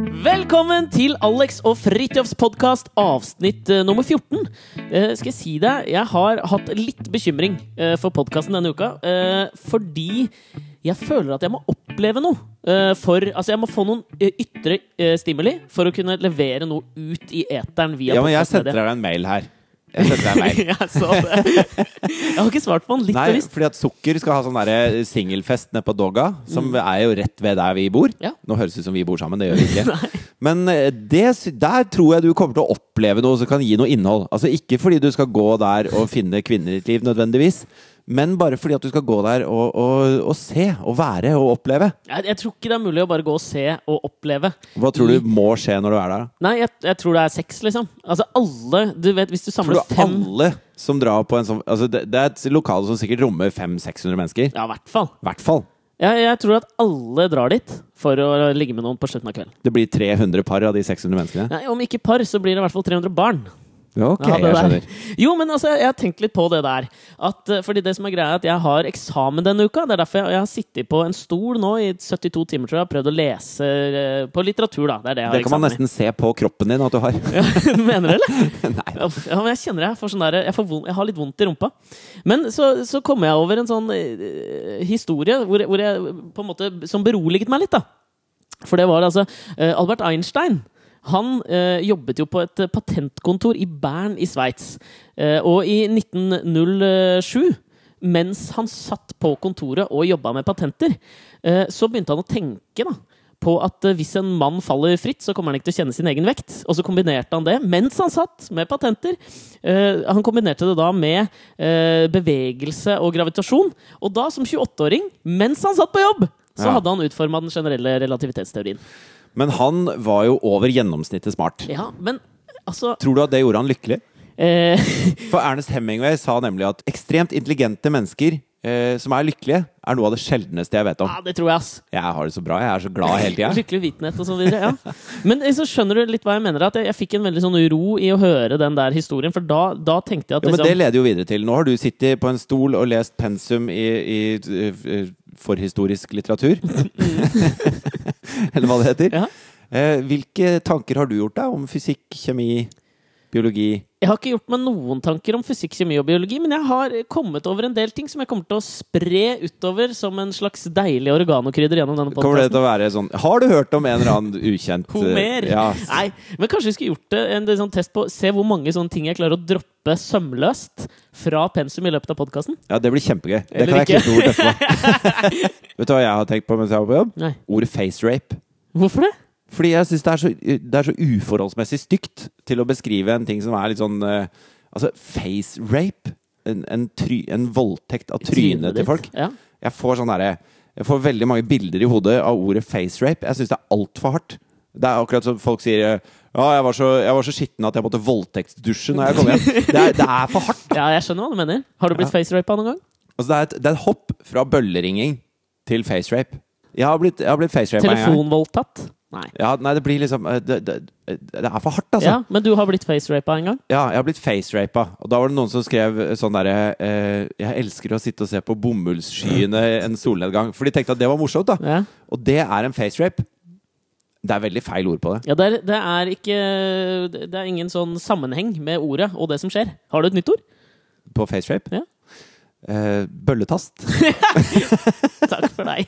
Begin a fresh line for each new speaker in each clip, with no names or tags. Velkommen til Alex og Fridtjofs podkast, avsnitt eh, nummer 14. Eh, skal jeg si deg, jeg har hatt litt bekymring eh, for podkasten denne uka. eh, fordi jeg føler at jeg må oppleve noe. eh, for, altså jeg må få noen eh, ytre eh, stimuli for å kunne levere noe ut i eteren via
Ja, men jeg sendte
podcastmediet.
deg en mail her. Jeg sendte deg en mail.
jeg så det. Jeg har ikke svart på den. Litt
Nei,
bevisst.
fordi at Sukker skal ha sånn derre singelfest nede på Dogga, som er jo rett ved der vi bor.
Mm. Ja.
Nå høres det ut som vi bor sammen, det gjør vi ikke. Men eh, det, sy- der tror jeg du kommer til å oppleve noe som kan gi noe innhold. Altså ikke fordi du skal gå der og finne kvinner i ditt liv nødvendigvis, men bare fordi at du skal gå der og, og, og se, og være, og oppleve.
Jeg, jeg tror ikke det er mulig å bare gå og se og oppleve.
Hva tror
Mm.
du må skje når du er der? da?
Nei, jeg, jeg tror det er sex, liksom. Altså alle Du vet, hvis du samler
Tror du
fem
alle som drar på en sånn altså det, det er et lokale som sikkert rommer 500-600 mennesker.
Ja, i hvert fall.
I hvert fall.
Jeg, jeg tror at alle drar dit for å ligge med noen på slutten av kvelden.
Det blir 300 par av de 600 menneskene?
Nei, om ikke par, så blir det i hvert fall 300 barn.
Ja, ok,
Ja, det
jeg
der.
skjønner.
Jo, men altså, jeg har tenkt litt på det der. At, eh, fordi det som er greia, er at jeg har eksamen denne uka. Det er derfor jeg, jeg har sittet på en stol nå i 72 timer, tror jeg, og prøvd å lese eh, på litteratur, da. Det er det jeg har
Det kan man
eksamen i.
nesten se på kroppen din at du har.
Mener du, eller?
Nei.
Ja, men jeg kjenner jeg får sånn der, jeg, får vond, jeg har litt vondt i rumpa. Men så, så kommer jeg over en sånn eh, historie hvor, hvor jeg, på en måte, som beroliget meg litt. da. For det var altså eh, Albert Einstein. Han eh, jobbet jo på et eh, patentkontor i Bern i Sveits. Eh, og i 1907, mens han satt på kontoret og jobba med patenter, eh, så begynte han å tenke da, på at eh, hvis en mann faller fritt, så kommer han ikke til å kjenne sin egen vekt. Og så kombinerte han det, mens han satt med patenter, eh, han kombinerte det da med eh, bevegelse og gravitasjon. Og da, som 28-åring, mens han satt på jobb, så
Ja.
hadde han utforma den generelle relativitetsteorien.
Men han var jo over gjennomsnittet smart.
Ja, men altså
Tror du at det gjorde han lykkelig?
eh,
For Ernest Hemingway sa nemlig at ekstremt intelligente mennesker eh, som er lykkelige, er noe av det sjeldneste jeg vet om.
Ja, det tror jeg, ass.
Jeg har det så bra, jeg er så glad hele tida.
Skikkelig vitenhet og så videre. Ja. Men eh, så skjønner du litt hva jeg mener. At jeg, jeg fikk en veldig sånn ro i å høre den der historien, for da, da tenkte jeg at
Ja, men
liksom,
det leder jo videre til. Nå har du sittet på en stol og lest pensum i, i eh, forhistorisk litteratur. Eller hva det heter.
Mm. Ja.
Eh, Hvilke tanker har du gjort deg om fysikk, kjemi, biologi?
Jeg har ikke gjort meg noen tanker om fysikk, kjemi og biologi, men jeg har eh, kommet over en del ting som jeg kommer til å spre utover som en slags deilig oreganokrydder gjennom denne
Kommer det
podkasten.
til å være sånn Har du hørt om en eller annen ukjent eh,
Homer!
Ja.
Nei, men kanskje vi skulle gjort det en sånn test på Se hvor mange sånne ting jeg klarer å droppe sømløst fra pensum i løpet av podkasten.
ja, det blir kjempegøy. Det
Eller
kan jeg
ikke.
klippe bort etterpå. Vet du hva jeg har tenkt på mens jeg var på jobb?
Nei.
Ordet face rape.
Hvorfor det?
Fordi jeg syns det, er så- det er så uforholdsmessig stygt til å beskrive en ting som er litt sånn eh, Altså, face rape. En, en, try, en voldtekt av trynet til
ditt.
folk.
Ja.
Jeg får sånn derre Jeg får veldig mange bilder i hodet av ordet face rape. Jeg syns det er altfor hardt. Det er akkurat som folk sier eh, Ja, jeg var så, jeg var så skitten at jeg måtte voldtektsdusje når jeg kom hjem. Det er, det er for hardt.
ja, jeg skjønner hva du mener. Har du blitt facerapa noen gang?
Altså, det er, et, det er et hopp fra bølleringing til face rape. Jeg har blitt, jeg har blitt face rape en gang.
Telefonvoldtatt? Nei.
Ja, nei, det blir liksom eh, Det, det, det er for hardt, altså.
Ja, men du har blitt facerapa en gang?
Ja, jeg har blitt facerapa. Og da var det noen som skrev sånn derre eh, Jeg elsker å sitte og se på bomullsskyene en solnedgang. For de tenkte at det var morsomt, da.
Ja.
Og det er en facerape. Det er veldig feil ord på det.
Ja, det, er, det er ikke Det er ingen sånn sammenheng med ordet og det som skjer. Har du et nytt ord?
På facerape.
Ja.
Eh, bølletast.
Takk for deg.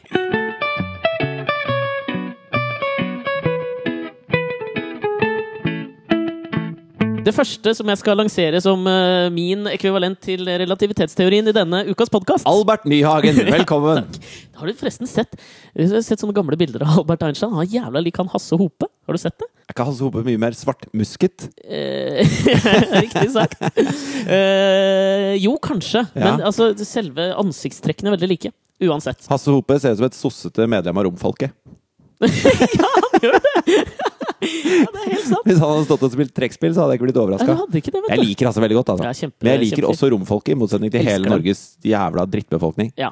Det første som jeg skal lansere som eh, min ekvivalent til relativitetsteorien i denne ukas podkast
Albert Nyhagen, velkommen!
Har du forresten sett, jeg har sett sånne gamle bilder av Albert Einstein? Han er jævla lik han Hasse Hope. Har du sett det?
Er ikke Hans Hope mye mer svartmusket?
Eh, Riktig sagt. Eh, jo, kanskje.
Ja.
Men altså, selve ansiktstrekkene er veldig like. Uansett.
Hasse Hope ser ut som et sossete medlem av romfolket.
Ja, det er helt sant.
Hvis han hadde stått og spilt trekkspill, så hadde jeg ikke blitt
Nei,
overraska.
du hadde ikke det,
Jeg
vet du.
liker Hasse veldig godt, altså.
Ja, kjempe-
Men jeg liker
kjempefint.
også romfolket, i motsetning til
Elsker
hele
dem.
Norges jævla drittbefolkning.
Ja.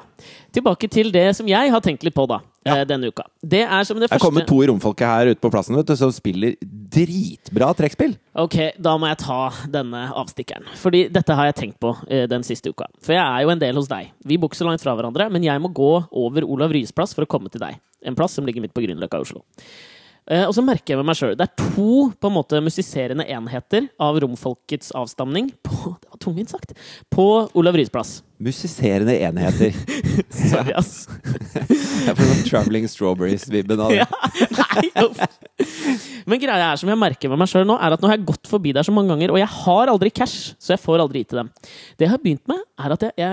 Tilbake til det som jeg har tenkt litt på da,
Ja.
eh, denne uka. Det er som det
Jeg
første
kommer to i romfolket her ute på plassen vet du, som spiller dritbra trekkspill.
Ok, da må jeg ta denne avstikkeren. Fordi dette har jeg tenkt på eh, den siste uka. For jeg er jo en del hos deg. Vi bor ikke så langt fra hverandre, men jeg må gå over Olav Ryes plass for å komme til deg. En plass som ligger midt på Grünerløkka i Oslo. Eh, og så merker jeg med meg sjøl Det er to på en måte musiserende enheter av romfolkets avstamning på, Det var tungvint sagt. På Olav Ryes plass.
Musiserende enheter.
Sorry, ass.
Jeg får sånn Traveling Strawberries-vibben av det.
Ja. Nei, uff. Men greia er som jeg merker med meg sjøl nå, er at nå har jeg gått forbi der så mange ganger, og jeg har aldri cash, så jeg får aldri gitt til dem. Det jeg har begynt med, er at jeg, jeg,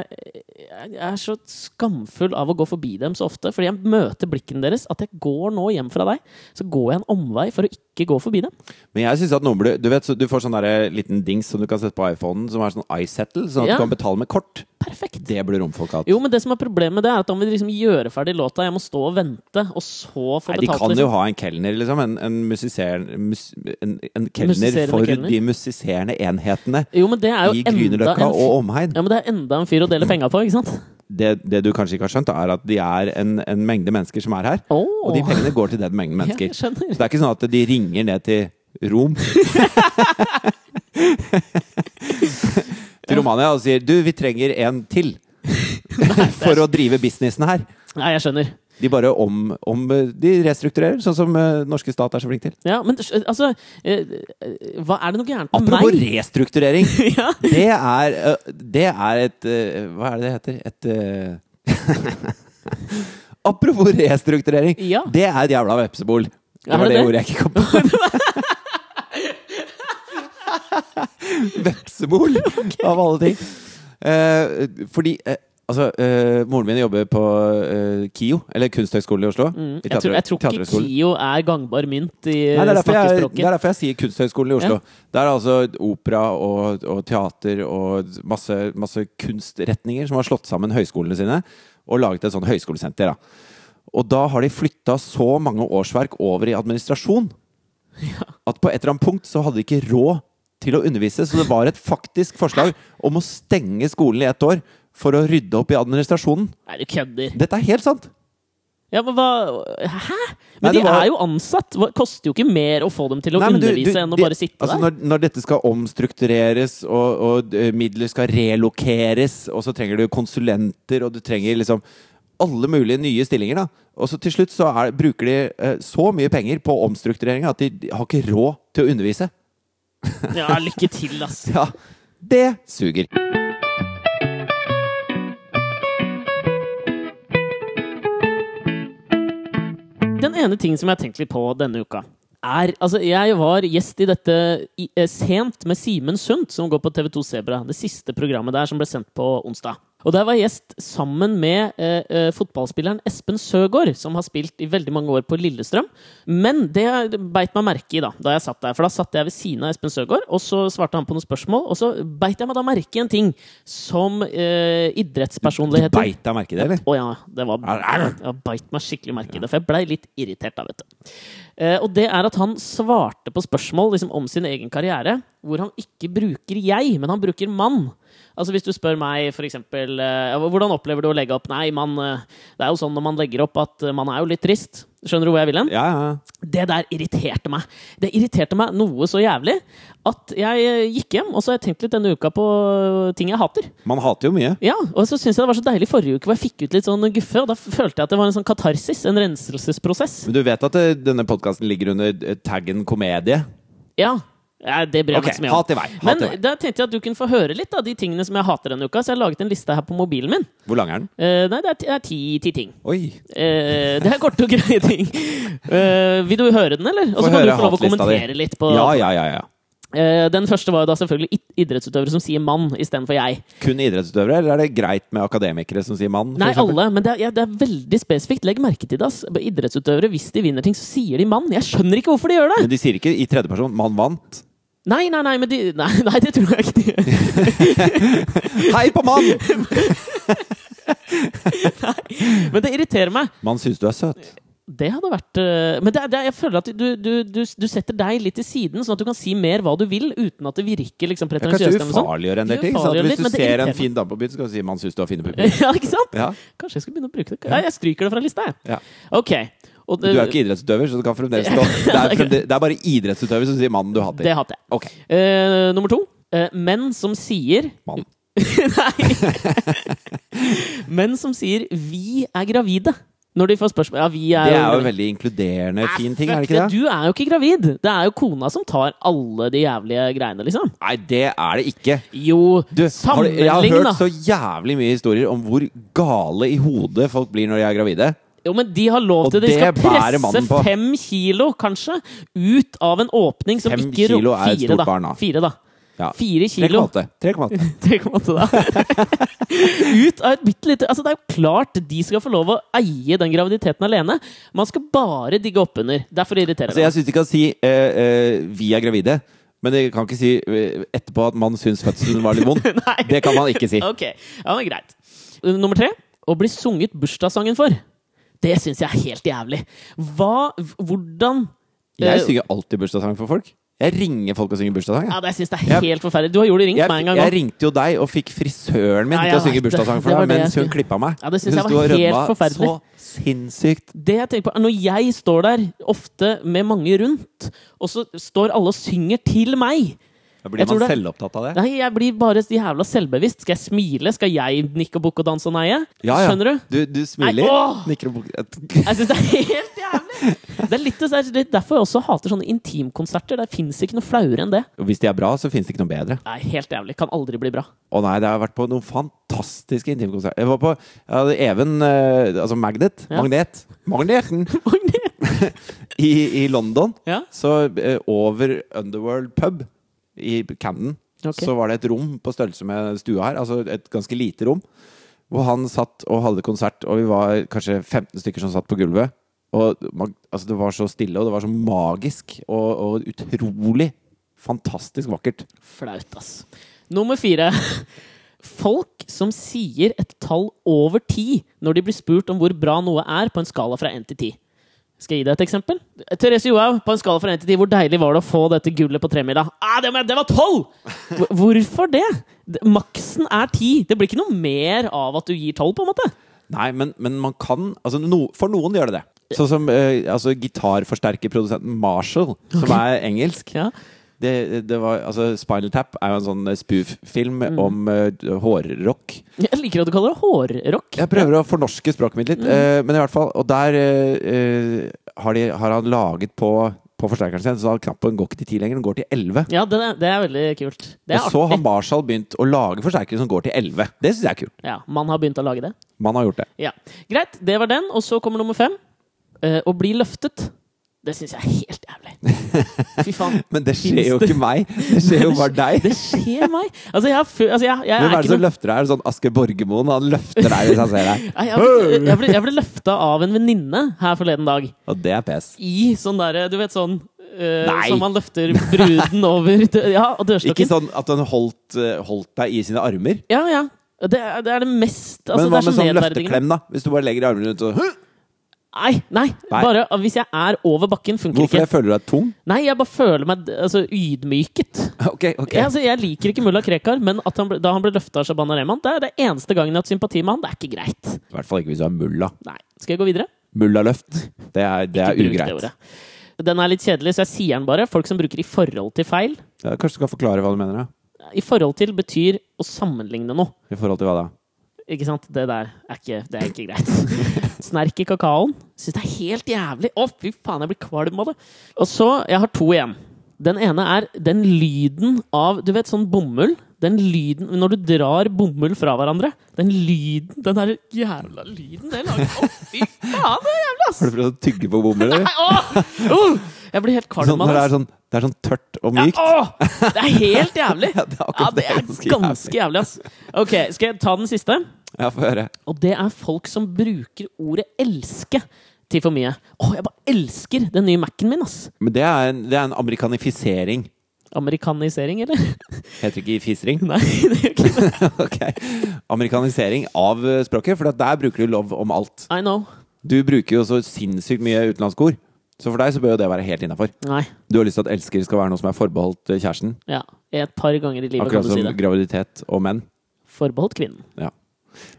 jeg er så skamfull av å gå forbi dem så ofte, fordi jeg møter blikken deres, at jeg går nå hjem fra deg, så går jeg en omvei for å ikke gå forbi dem.
Men jeg synes at noen burde Du vet, så du får sånn der liten dings som du kan sette på iPhonen, som er sånn iSettle, sånn at
Ja.
du kan betale med kort.
Perfekt.
Det burde romfolk hatt.
Jo, men det som er problemet, det er at da må vi liksom gjøre ferdig låta. Jeg må stå og vente, og så få
Nei, de
betalt.
kan
liksom.
jo ha en kelner, liksom. En, en, musiser, mus, en, en kelner
Musiserende
for
kelner.
de musiserende enhetene
jo, men det er jo
i
enda
Grünerløkka
en,
og
fyr-
omegn.
ja, men det er enda en fyr å dele penga på, ikke sant?
Det, det du kanskje ikke har skjønt, da, er at de er en, en mengde mennesker som er her.
Åh.
Og de pengene går til den mengden
Ja,
mennesker.
jeg skjønner.
Så det er ikke sånn at de ringer ned til Rom. til Romania og sier 'du, vi trenger en til'. For å drive businessen her.
Nei, jeg skjønner.
De bare om, om De restrukturerer, sånn som eh, norske stat er så flink til.
Ja, men skj- altså eh, eh, Hva er det noe gærent med
Apropos
meg?
restrukturering!
Ja.
Det er, eh, det er et eh, Hva er det det heter? Et eh, Apropos restrukturering!
Ja.
Det er et jævla vepsebol. Det
Er
var
det
det
det?
ordet jeg ikke kom på. Vepsebol, av alle ting. Eh, fordi eh, Altså, eh, moren min jobber på eh, KIO, eller Kunsthøgskolen i Oslo.
Mm,
i
jeg, tror, jeg tror ikke
teaterhøgskolen.
KIO er gangbar mynt i
Nei, det, er derfor jeg,
snakkespråket.
det er derfor jeg sier Kunsthøgskolen i Oslo. Det er altså opera og, og teater og masse, masse kunstretninger som har slått sammen høyskolene sine og laget et sånn høyskolesenter. Da. Og da har de flytta så mange årsverk over i administrasjon at på et eller annet punkt så hadde de ikke råd til å undervise, så det var et faktisk forslag om å stenge skolen i ett år for å rydde opp i administrasjonen.
Nei, du kødder.
Dette er helt sant!
Ja, men hva Hæ? Men
Nei, det
de
var-
er jo ansatt! Hva, koster jo ikke mer å få dem til å
Nei, men du-
undervise
du-
enn å
de-
bare sitte
altså
der.
Når, når dette skal omstruktureres, og, og eh, midler skal relokeres, og så trenger du konsulenter, og du trenger liksom alle mulige nye stillinger, da. Og så til slutt så er, bruker de eh, så mye penger på omstrukturering at de, de har ikke råd til å undervise.
Ja, lykke til, ass.
Ja, det suger.
Den ene ting som jeg har tenkt litt på denne uka, er Altså, jeg var gjest i dette i, eh, sent med Simen Sundt, som går på TV2 Sebra. Det siste programmet der som ble sendt på onsdag. Og der var jeg gjest sammen med eh, eh, fotballspilleren Espen Søgaard, som har spilt i veldig mange år på Lillestrøm. Men det jeg beit meg merke i da, da jeg satt der, for da satt jeg ved siden av Espen Søgaard, og så svarte han på noen spørsmål, og så beit jeg meg da merke i en ting som eh,
Du
idrettspersonligheter
beit deg merke i det, eller?
å ja, det var
Arr, arr.
Jeg beit meg skikkelig merke i det, for jeg blei litt irritert da, vet du. Eh, og det er at han svarte på spørsmål liksom, om sin egen karriere, hvor han ikke bruker 'jeg', men han bruker 'mann'. Altså Hvis du spør meg for eksempel, eh, hvordan opplever du å legge opp Nei, man, eh, det er jo sånn når man legger opp at eh, man er jo litt trist. Skjønner du hvor jeg vil hen?
Ja, ja.
Det der irriterte meg. Det irriterte meg noe så jævlig at jeg eh, gikk hjem, og så har jeg tenkt litt denne uka på eh, ting jeg hater.
Man hater jo mye.
Ja, og så syns jeg det var så deilig forrige uke hvor jeg fikk ut litt sånn guffe, og da følte jeg at det var en sånn katarsis, en renselsesprosess.
Men du vet at eh, denne podkasten ligger under eh, taggen komedie?
Ja. ja det bryr jeg
Ok,
meg ikke så mye om.
hat i vei. Hat
Men
i vei.
da tenkte jeg at du kunne få høre litt av de tingene som jeg hater denne uka, så jeg har laget en liste her på mobilen min.
Hvor lang er den?
Eh, nei, det er ti, det er ti, ti ting.
Oi!
Eh, det er korte og greie ting. Eh, vil du høre den, eller? Og
Få
så kan du
høre
få lov å
hatlista di.
kommentere litt på
Ja, ja, ja. ja.
Eh, Den første var jo da selvfølgelig id- idrettsutøvere som sier mann istedenfor jeg.
Kun idrettsutøvere, eller er det greit med akademikere som sier mann? for
Nei,
eksempel?
alle, men det er, ja, det er veldig spesifikt. Legg merke til det. ass. Idrettsutøvere, hvis de vinner ting, så sier de 'mann'. Jeg skjønner ikke hvorfor de gjør det!
Men de sier ikke i tredjeperson 'mann vant'.
Nei, nei, nei, men de, nei, nei det tror jeg ikke de gjør.
Hei på mann!
Men det irriterer meg.
Mann syns du er søt.
Det hadde vært øh, Men det, er- det, er- jeg føler at du, du, du, du setter deg litt til siden, sånn at du kan si mer hva du vil, uten at det virker liksom
Jeg kan ikke
pretensiøst. eller noe sånt.
ufarliggjøre en del
Du
ting. Sånn at
ufarliggjør
hvis
litt,
du
men det
ser en
irriterer
fin dame på byen, så kan du si 'mann syns du har fine pupper'.
Ja, ikke sant?
Ja.
Kanskje jeg skulle begynne å bruke det. Nei, jeg stryker det fra lista, jeg.
Ja.
Ok. Og
Du er ikke idrettsutøver, så du kan fremdeles stå. Det er, fremde- det er bare idrettsutøver som sier 'mannen du hater'.
Det hater jeg.
Ok.
Eh, nummer to. Eh, menn som sier
Mann.
Nei! Menn som sier 'vi er gravide'. Når de får spørsmål Ja, vi er,
Det er jo en veldig inkluderende, fin ting, er det ikke det?
Du er jo ikke gravid! Det er jo kona som tar alle de jævlige greiene, liksom.
Nei, det er det ikke.
Jo,
Du, har du, jeg har
sammenlign, da!
hørt så jævlig mye historier om hvor gale i hodet folk blir når de er gravide.
Jo, men de har lov
Og
til det. De
det
skal
bærer mannen
presse
på.
fem kilo, kanskje, ut av en åpning som
Fem
ikke ro-
kilo er et
Fire,
stort
da.
barn, da.
Fire, da.
Ja.
Fire kilo.
3,8. 3,8.
Det kan man ta da. Ut av et bitte lite Altså, det er jo klart de skal få lov å eie den graviditeten alene. Man skal bare digge oppunder. Derfor irriterer
Altså,
det
jeg syns de kan si eh, eh, 'vi er gravide', men de kan ikke si eh, etterpå at man syns fødselen var litt vond.
Nei.
Det kan man ikke si.
meg. Ok, ja, men greit. Uh, Nummer tre. Å bli sunget bursdagssangen for. Det syns jeg er helt jævlig. Hva Hvordan eh,
Jeg synger alltid bursdagssang for folk. Jeg ringer folk og synger bursdagssang.
Ja,
jeg.
det syns jeg er helt forferdelig. Du har gjort det ringt meg en
Jeg,
gang
jeg
òg.
ringte jo deg og fikk frisøren
Ja,
min til
jeg
å synge
vet det.
bursdagsssang for
Det var
deg,
det
mens
jeg
hun klippa meg.
Ja, det synes
hun
jeg var
sto og
helt
rødma så
forferdelig.
sinnssykt.
Det jeg tenker på er Når jeg står der, ofte med mange rundt, og så står alle og synger til meg
Da
Jeg
blir
tror
man
det-
selvopptatt av det.
Nei, jeg blir bare jævla selvbevisst. Skal jeg smile? Skal jeg nikke og bukke og danse og neie?
Ja, ja.
Skjønner du?
Du, du smiler,
Nei, åh!
nikker og bukker
Jeg syns det er helt jævlig! Det er litt det er derfor jeg også hater sånne intimkonserter. Det fins ikke noe flauere enn det.
Hvis de er bra, så fins det ikke noe bedre.
Nei, helt jævlig. Kan aldri bli bra.
Å nei, det har vært på noen fantastiske intimkonserter. Jeg var på jeg hadde Even eh, Altså Magnet.
Ja.
Magnet. Magneten!
Magnet!
I, I London.
Ja.
Så eh, over Underworld pub i Camden,
Ok.
så var det et rom på størrelse med stua her. Altså et ganske lite rom. Hvor han satt og hadde konsert, og vi var kanskje 15 stykker som satt på gulvet. Og man, altså det var så stille, og det var så magisk, og, og utrolig fantastisk vakkert.
Flaut, ass. Nummer fire. Folk som sier et tall over ti når de blir spurt om hvor bra noe er, på en skala fra én til ti. Skal jeg gi deg et eksempel? Therese Johaug, på en skala fra 1 til 10, hvor deilig var det å få dette gullet på tremila? Ah, det, var- det var 12! Hvor- Hvorfor det? Det- Maksen er 10. Det blir ikke noe mer av at du gir 12, på en måte.
Nei, men, men man kan altså no, For noen gjør det det. Sånn som eh, altså, gitarforsterkerprodusenten Marshall, som er engelsk.
Ja.
Det, det var, altså, Spinal Tap er jo en sånn eh, spoof-film om eh, hårrock.
Jeg liker at du kaller det hårrock.
Jeg prøver å fornorske språket mitt litt, eh, men i hvert fall Og der eh, eh, har, de, har han laget på, på forsterkeren sin, så knappen går ikke til 10 lenger, den går til 11.
Ja, det, er- det er veldig kult. Det er
Og så har
artig.
Marshall begynt å lage forsterkere som går til 11. Det syns jeg er kult.
Ja, man har begynt å lage det.
Man har gjort det.
Ja. Greit, det var den. Og så kommer nummer fem. Eh, å bli løftet. Det syns jeg er helt jævlig. Fy faen.
Men det skjer
Finnes
jo
det-
ikke meg. Det skjer jo bare deg.
Det skjer meg! Altså, jeg, har fø- altså, jeg, jeg er
Hvem er det
ikke
som
noen
løfter deg? Er det sånn Asker Borgermoen? Han løfter deg hvis han ser deg.
Nei, jeg ble, jeg ble, jeg ble løfta av en venninne her forleden dag.
Og det er pes.
I sånn derre Du vet sånn eh,
Nei.
Som man løfter bruden over dø Ja, og
Ikke
dørstokken.
sånn at han holdt, eh, holdt deg i sine armer.
Ja, ja. Det er, det er det mest altså,
Men
det er
hva med
så
sånn
nedverdigende.
løfteklem, da? Hvis du bare legger armene rundt og «Hm!»
Nei, nei,
Nei.
Bare hvis jeg er over bakken, funker ikke.
Hvorfor jeg føler du deg tung?
Nei, jeg bare føler meg altså, ydmyket.
Ok, ok.
Jeg, altså, jeg liker ikke mulla Krekar, men at han ble, da han ble løfta av Shabana Rehman, det er det eneste gangen jeg har hatt sympati med han. Det er ikke greit.
I hvert fall ikke hvis du er mulla.
Nei. Skal jeg gå videre?
Mullaløft. Det er, det er
Ikke bruk
ugreit.
ordet. Den er litt kjedelig, så jeg sier den bare. Folk som bruker 'i forhold til feil'.
Ja, kanskje du skal forklare hva du mener? da?
I forhold til betyr å sammenligne noe.
I forhold til hva da?
Ikke sant? Det der er ikke, det er ikke greit. Snerk i kakaoen. Syns det er helt jævlig. Å, fy faen, jeg blir kvalm av det. Og så, jeg har to igjen. Den ene er den lyden av Du vet sånn bomull? Den lyden Når du drar bomull fra hverandre. Den lyden, den der jævla lyden det lager Å, fy faen, det er jævlig, ass!
Har du prøvd å tygge på bomull? eller?
Nei, å! Oh, jeg blir helt
Sånn,
kvalm
når
av
det
det.
er sånn, det er sånn tørt og mykt.
Åh, det er helt jævlig!
Ja, det er akkurat
Ja, det er
ganske jævlig.
ganske jævlig, ass. Ok, skal jeg ta den siste?
Ja, få høre.
Og det er folk som bruker ordet 'elske' til for mye. Åh, jeg bare elsker den nye Mac-en min, ass!
Men det er en, det er en amerikanifisering.
Amerikanisering, eller?
Heter det ikke fisring?
Nei, det gjør ikke det.
Ok. Amerikanisering av eh, språket, for at der bruker du lov om alt.
I know.
Du bruker jo så sinnssykt mye utenlandske ord. Så for deg så bør jo det være helt innafor.
Nei.
Du har lyst til at elsker skal være noe som er forbeholdt eh, kjæresten.
Ja. Et par ganger i livet kan
Akkurat
du si
som
det.
graviditet og menn.
Forbeholdt kvinnen.
Ja.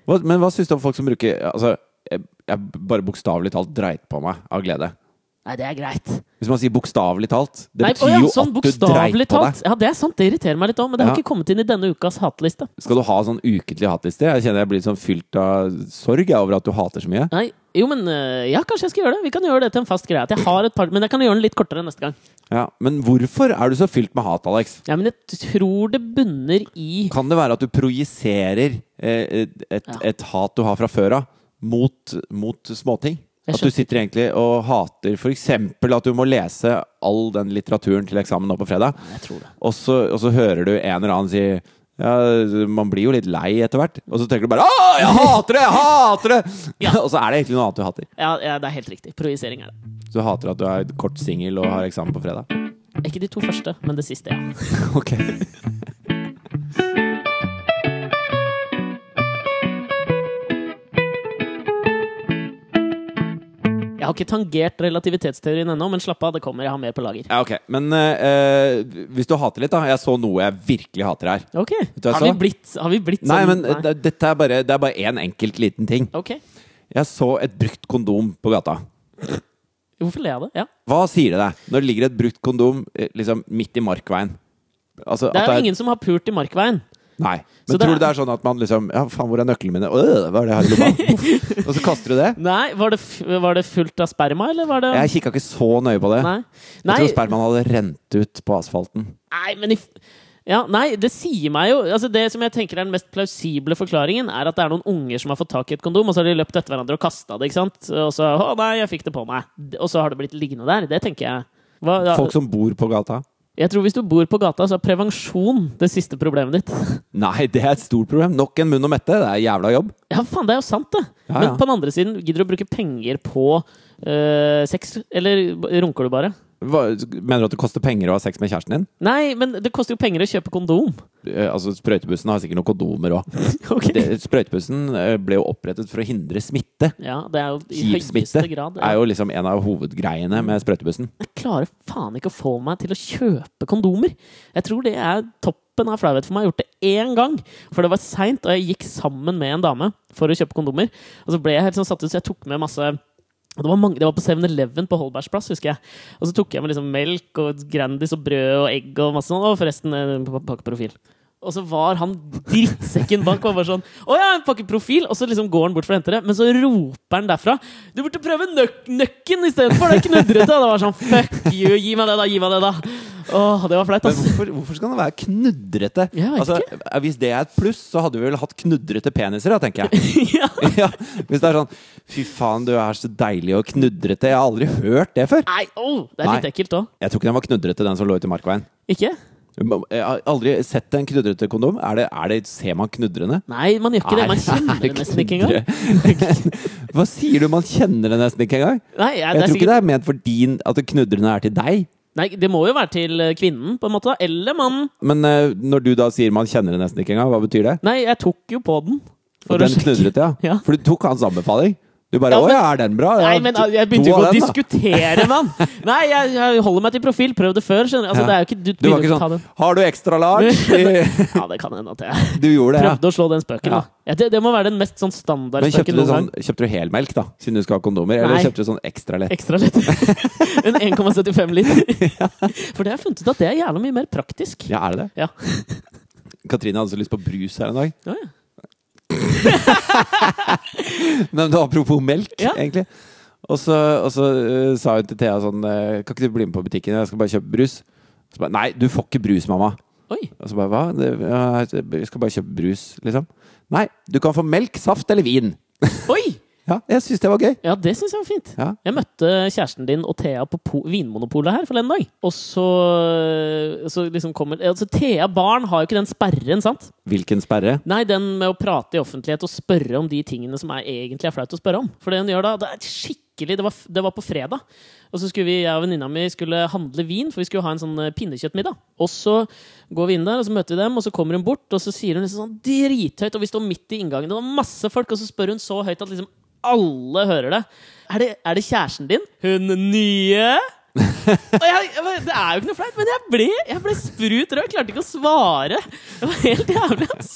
Hva, men hva syns du om folk som bruker Altså, jeg, jeg bare bokstavelig talt dreit på meg av glede.
Nei, det er greit.
Hvis man sier bokstavelig talt. Det
Nei,
betyr
å ja,
jo
sånn
at du dreit
bokstavelig
på
talt.
deg.
Ja, det er sant. Det irriterer meg litt òg, men det har
Ja.
ikke kommet inn i denne ukas hatliste.
Skal du ha sånn ukentlig hatliste? Jeg kjenner jeg blir sånn fylt av sorg jeg, over at du hater så mye.
Nei, jo, men øh, ja, kanskje jeg skal gjøre det. Vi kan gjøre det til en fast greie. At jeg har et par, men jeg kan gjøre den litt kortere neste gang.
Ja, Men hvorfor er du så fylt med hat, Alex?
Ja, men jeg tror det bunner i
Kan det være at du projiserer eh, et,
Ja.
et hat du har fra før av, mot, mot småting?
Jeg
At du sitter egentlig og hater f.eks. at du må lese all den litteraturen til eksamen nå på fredag,
Nei, Jeg tror det.
og så, og så hører du en eller annen si ja, Man blir jo litt lei etter hvert, og så tenker du bare 'Å, jeg hater det! Jeg hater det!'
Ja.
og så er det egentlig noe annet du hater.
Ja, ja, det er helt riktig. Projisering er det.
Så du hater at du er kort singel og har eksamen på fredag.
Ikke de to første, men det siste, ja.
Ok.
Jeg har ikke tangert relativitetsteorien ennå, men slapp av, det kommer. Jeg har mer på lager.
Ja, ok. Men eh, eh, hvis du hater litt, da. Jeg så noe jeg virkelig hater her.
Ok.
hva jeg
Har vi
så?
blitt, har vi blitt
Nei,
sånn?
men eh, det, dette er bare, det er bare én enkelt liten ting.
Ok.
Jeg så et brukt kondom på gata.
Hvorfor ler jeg av det? Ja.
Hva sier det deg når det ligger et brukt kondom eh, liksom midt i markveien? Altså,
Det
at
er jo ingen som har pult i Markveien.
Nei.
Så
Men
det
tror
er-
du det er sånn at man liksom Ja, faen, hvor er nøklene mine? Øh, hva er det her i lomma? Poff. Og så kaster du det?
Nei, var det, f- var det fullt av sperma, eller var det
Jeg kikka ikke så nøye på det.
Nei.
Jeg
Nei,
tror spermaen hadde rent ut på asfalten.
nei men i f- ja, nei, det sier meg jo altså Det som jeg tenker er den mest plausible forklaringen, er at det er noen unger som har fått tak i et kondom, og så har de løpt etter hverandre og kasta det, ikke sant? Og så Å nei, jeg fikk det på meg. D- Og så har det blitt liggende der. Det tenker jeg. Hva, ja,
Folk som bor på gata.
jeg tror hvis du bor på gata, så er prevensjon det siste problemet ditt.
Nei, det er et stort problem. Nok en munn å mette. Det er jævla jobb.
Ja, faen, det er jo sant, det!
Ja,
Men
ja.
på den andre siden, gidder du å bruke penger på eh, sex? Eller b- runker du bare?
Hva, mener du at det koster penger å ha sex med kjæresten din?
Nei, men det koster jo penger å kjøpe kondom.
Eh, Altså, Sprøytebussen har sikkert noen kondomer òg.
Ok.
Sprøytebussen eh, ble jo opprettet for å hindre smitte.
Ja, det er jo i høyeste
Hivsmitte
grad.
er jo liksom en av hovedgreiene med sprøytebussen.
Jeg klarer faen ikke å få meg til å kjøpe kondomer. Jeg tror det er toppen av flauhet for meg. Jeg har gjort det én gang, for det var seint, og jeg gikk sammen med en dame for å kjøpe kondomer. Og så ble jeg helt sånn satt ut, så jeg tok med masse og det var, mange, det var på 7-Eleven på Holbergsplass, husker jeg. Og så tok jeg med liksom melk og Grandis og brød og egg og masse sånn. Og forresten, eh, pa- pakke profil. Og så var han drittsekken bak og var bare sånn Å ja, en pakke profil! Og så liksom går han bort for å hente det, men så roper han derfra Du burde prøve nøk nøkken istedenfor! Det er knudrete! Og det var sånn Fuck you! Gi meg det, da! Gi meg det, da! Åh, det var flaut, altså.
Men
ass.
hvorfor, hvorfor skal den være knudrete?
Jeg vet
Altså, hvis det er et pluss, så hadde vi vel hatt knudrete peniser, da, tenker jeg.
ja.
ja, hvis det er sånn Fy faen, du er så deilig og knudrete. Jeg har aldri hørt det før.
Nei, åh, det er litt
Nei.
ekkelt òg.
Jeg tror ikke den var knudrete, den som lå ute i Markveien.
Ikke?
Jeg har aldri sett en knudrete kondom. Er det, er det, ser man knudrende?
Nei, man gjør ikke det. Man kjenner det nesten ikke engang.
Hva sier du? Man kjenner det nesten ikke engang.
Nei, ja,
Jeg
det er
tror
sikkert
ikke det er ment for din at det knudrende er til deg.
Nei, det må jo være til eh, kvinnen, på en måte. da. Eller mannen.
Men eh, når du da sier man kjenner det nesten ikke engang, hva betyr det?
Nei, jeg tok jo på den. for
Og
å
den
sjekke.
knudret, ja.
Ja.
For du tok hans anbefaling. Du bare
Ja,
'Å
men-
ja, er den bra?'
Nei,
Ja,
men
to-
al- jeg begynte
to
jo ikke
av
å
den, da.
diskutere, mann! Nei, jeg, jeg holder meg til profil. Prøv det før, skjønner du. Altså,
Ja.
det er jo ikke, du
Du var
begynner ikke
ikke
å ta
sånn
den.
'Har du ekstra large?'
Ja, det kan hende at jeg
Du gjorde det, ja.
prøvde å slå den spøken.
Ja.
da. Ja, det, det må være den mest sånn
Men kjøpte
standardspøken
du,
noen
sånn,
gang.
kjøpte du helmelk, da, siden du skal ha kondomer? Eller
Nei.
kjøpte du sånn ekstra lett?
Ekstra lett. en 1,75 liter. For det har jeg funnet ut at det er jævla mye mer praktisk.
Ja, er det det?
Ja.
Katrine hadde så lyst på brus her en dag.
Ja, ja.
Nei, men det var apropos melk,
Ja.
egentlig. Og så, og så eh, sa hun til Thea sånn eh, Kan ikke du bli med på butikken? Jeg skal bare kjøpe brus. Så bare, Nei, du får ikke brus, mamma.
Oi.
Og så bare hva? Det, ja, jeg skal bare kjøpe brus, liksom. Nei, du kan få melk, saft eller vin.
Oi!
Ja, jeg syns det var gøy.
Ja, det syns jeg var fint.
Ja.
Jeg møtte kjæresten din og Thea på po Vinmonopolet her forleden dag. Og så, så liksom kommer Altså, Thea barn har jo ikke den sperren, sant?
Hvilken sperre?
Nei, den med å prate i offentlighet og spørre om de tingene som er, egentlig er flaut å spørre om. For det hun gjør da, det er skikkelig Det var, f- det var på fredag. Og så skulle vi, jeg og venninna mi skulle handle vin, for vi skulle ha en sånn eh, pinnekjøttmiddag. Og så går vi inn der, og så møter vi dem, og så kommer hun bort, og så sier hun liksom sånn drithøyt, og vi står midt i inngangen, og det var masse folk, og så spør hun så høyt at liksom alle hører det. Er det, er det kjæresten din? Hun nye? Og jeg, jeg, bare, det er jo ikke noe flaut, men jeg ble, jeg ble sprut rød. Jeg Klarte ikke å svare. Det var helt jævlig, ass.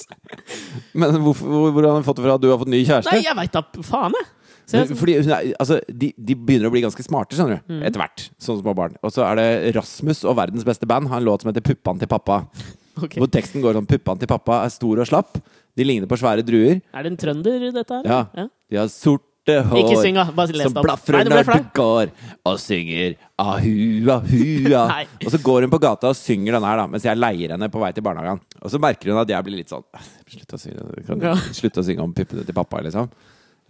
Men hvorfor, hvor, hvordan har du fått det fra at du har fått ny kjæreste?
Nei, jeg veit da faen, jeg. Så jeg- Mm.
Fordi hun er, altså, de, de begynner å bli ganske smarte, skjønner du. Etter hvert. Sånne små barn. Og så er det Rasmus og verdens beste band har en låt som heter 'Puppan til pappa'.
ok.
Hvor teksten går sånn 'Puppan til pappa er stor og slapp'. De ligner på svære druer.
Er det en trønder, i dette her?
Ja.
Ja.
De har sorte hår
Ikke syng, da. Bare les
som
det opp.
blafrer
Nei, det ble
når du går, og synger ahu, ahua.
Nei.
og så går hun på gata og synger den her, da, mens jeg leier henne på vei til barnehagen. Og så merker hun at jeg blir litt sånn Slutt å synge, kan du
Ja.
slutte å synge om puppene til pappa, liksom.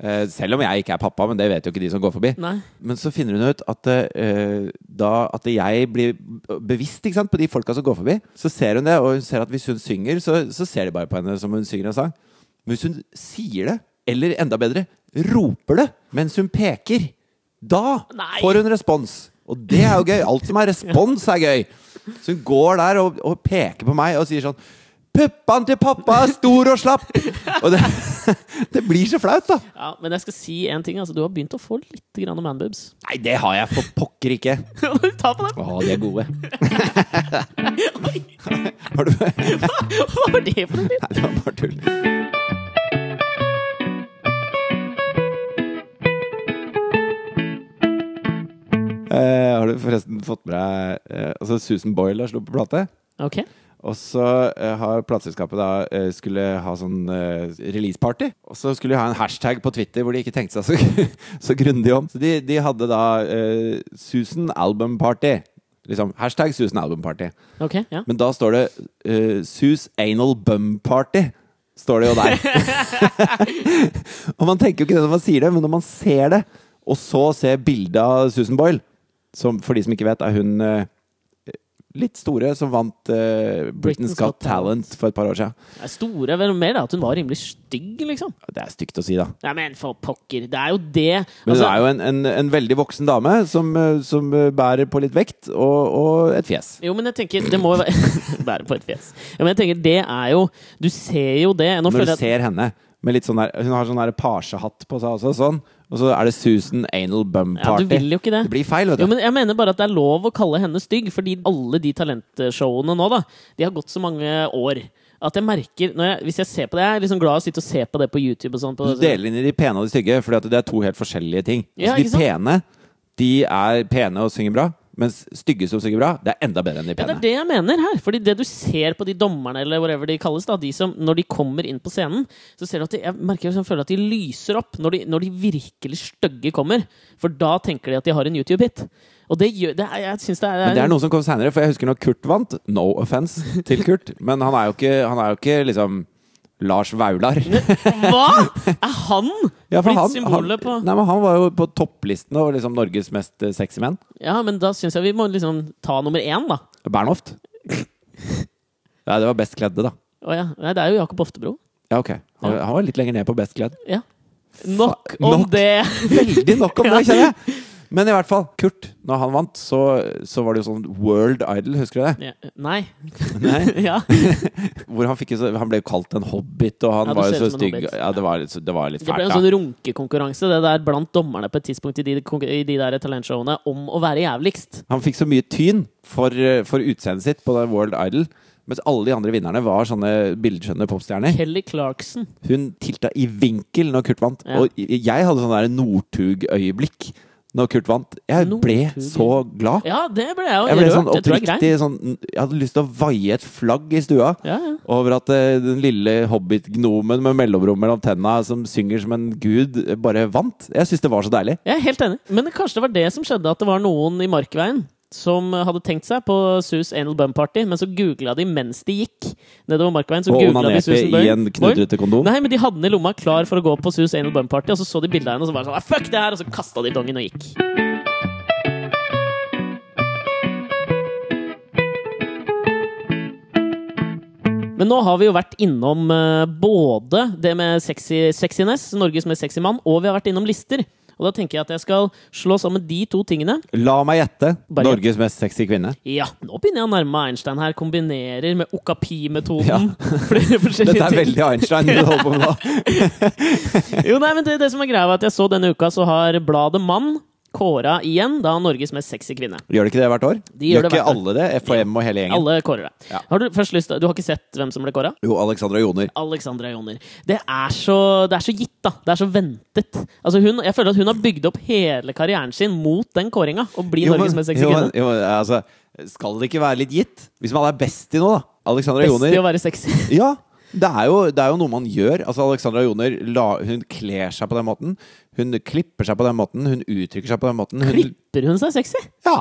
Eh, Selv om jeg ikke er pappa, men det vet jo ikke de som går forbi.
Nei.
Men så finner hun ut at, eh, da, at jeg blir bevisst ikke sant, på de folka som går forbi. Så ser hun det, og hun ser at hvis hun synger, så, så ser de bare på henne som hun synger en sang. Men hvis hun sier det, eller enda bedre, roper det mens hun peker, da
Nei.
får hun respons. Og det er jo gøy. Alt som er respons, er gøy. Så hun går der og, og peker på meg og sier sånn Puppaen til pappa er stor og slapp! Og det, det blir så flaut, da.
Ja, men jeg skal si en ting. Altså, du har begynt å få litt grann manboobs.
Nei, det har jeg for pokker ikke.
Ta på den!
Å, de er gode.
Oi,
Har du Nei,
Hva var det for noe?
det var bare tull. Eh, har du forresten fått med deg eh, altså Susan Boyle har sluppet plate?
Ok.
Og så eh, har plateselskapet da eh, skulle ha sånn eh, releaseparty. Og så skulle de ha en hashtag på Twitter hvor de ikke tenkte seg så, så grundig om. Så de, de hadde da eh, Susan Album Party. Liksom hashtag Susan Album Party.
ok, ja.
Men da står det eh, Sus Anal Bum Party. Står det jo der. og man tenker jo ikke det når man sier det, men når man ser det, og så ser bildet av Susan Boyle, som for de som ikke vet, er hun eh, litt store som vant eh, Britain's Got Talent for et par år siden.
Det er store vel mer da, at hun var rimelig stygg, liksom.
Det er stygt å si, da.
Nei, men for pokker. Det er jo det.
Men hun
Altså,
er jo en, en, en veldig voksen dame som, eh, som eh, bærer på litt vekt og, og et fjes.
jo, men jeg tenker Det må jo være Bære på et fjes. Ja, men jeg tenker, det er jo Du ser jo det. Nå
Når
føler
du
jeg at
ser henne med litt sånn der, Hun har sånn der pasjehatt på seg også, sånn. Og så er det Susan Anal Bum
ja, Du
Party.
vil jo ikke det.
det blir feil, vet du.
Jo, men jeg mener bare at det er lov å kalle henne stygg, fordi alle de talentshowene nå, da, de har gått så mange år. At jeg merker, når jeg, Hvis jeg ser på det, jeg er liksom glad å sitte og se på det på YouTube. og sånn. på-
Du deler inn i de pene og de stygge, Fordi at det er to helt forskjellige ting.
Ja, ikke sant?
altså, de pene de er pene og synger bra, mens stygge som synger bra, det er enda bedre enn de
Ja, det
pene.
er det jeg mener her. Fordi det du ser på de dommerne, eller whatever de kalles, da, de som, når de kommer inn på scenen, så ser du at de, jeg merker jeg føler at de lyser opp når de, når de virkelig stygge kommer. For da tenker de at de har en YouTube-hit. Og det gjør det er, Jeg syns det er,
Men det er noe som kom seinere, for jeg husker når Kurt vant. No offense til Kurt, men han er jo ikke, han er jo ikke liksom Lars Vaular.
Hva?! Er han
Ja, for
blitt
han, han,
symbolet på
nei, men han var jo på topplisten over liksom Norges mest eh, sexy menn.
Ja, men da syns jeg vi må liksom ta nummer én, da.
Bernhoft? Nei, det var best kledde, da.
Å ja. Nei, det er jo Jakob Oftebro.
Ja, ok. Han,
Ja.
han var litt lenger ned på best kledd.
Ja. Nok om
nok.
det!
Veldig nok om
Ja.
det, kjenner jeg! Men i hvert fall, Kurt, når han vant, så, så var det jo sånn World Idol, husker du det?
Ja, Nei.
Nei.
Ja.
Hvor han, fikk, jo så- han ble jo kalt en hobbit, og han
Ja, du
var
ser ut
jo så
som en
stygg.
hobbit.
Ja, det var, litt- det var litt
Det ble
fælt,
en
da.
sånn runkekonkurranse det der blant dommerne på et tidspunkt i de, i de der talentshowene om å være jævligst.
Han fikk så mye tyn for, eh, for utseendet sitt på den World Idol, mens alle de andre vinnerne var sånne bildskjønne popstjerner.
Kelly Clarkson.
Hun tilta i vinkel når Kurt vant.
Ja.
Og jeg hadde sånn der Northug-øyeblikk når Kurt vant. Jeg ble
Northug.
så glad.
Ja, det ble jeg jo
Jeg ble
rørt.
sånn
det tror jeg er greit.
oppriktig sånn Jeg hadde lyst til å vaie et flagg i stua.
Ja, ja.
Over at eh, den lille hobbit-gnomen med mellomrom mellom tenna som synger som en gud, eh, bare vant. Jeg syns det var så deilig.
Jeg er helt enig. Men kanskje det var det som skjedde, at det var noen i Markveien som hadde tenkt seg på Sus Anal Bum Party, men så googla de mens de gikk nedover Markveien. Så
Og
googlet de
onanerte
Susan
i en
Boyle. Boyle.
knudrete kondom.
Nei, men de hadde den i lomma klar for å gå på Sus Anal Bum Party, og så så de bildet av henne og så bare sånn «Ah, Fuck det her! Og så kasta de dongen og gikk. Men nå har vi jo vært innom eh, både det med sexy, sexiness, Norges mest sexy mann, og vi har vært innom lister. Og da tenker jeg at jeg skal slå sammen de to tingene.
La meg gjette.
Bare-
Norges mest sexy kvinne.
Ja, nå begynner jeg å nærme meg Einstein her. Kombinerer med okapi-metoden.
Ja.
Flere forskjellige
Dette er
ting.
veldig Einstein. det du holder på med nå.
Jo, nei, men det, det som er greia, var at jeg så denne uka, så har bladet Mann kåra igjen da Norges mest sexy kvinne.
Gjør det ikke det hvert år?
De gjør det
ikke
hvert år.
alle det? FHM og hele gjengen?
Alle kårer det.
Ja.
Har du først lyst til Du har ikke sett hvem som ble kåra?
Jo, Alexandra Joner.
Alexandra Joner. Det er, så, det er så gitt, da. Det er så ventet. Altså hun, jeg føler at hun har bygd opp hele karrieren sin mot den kåringa, å bli
Jo,
Norges
men-
mest sexy
jo, men-
kvinne.
jo, men, altså, skal det ikke være litt gitt? Hvis man er best i noe, da. Alexandra
Best i
Joner.
å være sexy.
Ja, det er, jo, det er jo noe man gjør. Altså, Alexandra Joner la, hun kler seg på den måten. Hun klipper seg på den måten. Hun uttrykker seg på den måten. Hun,
Klipper hun seg sexy?
ja,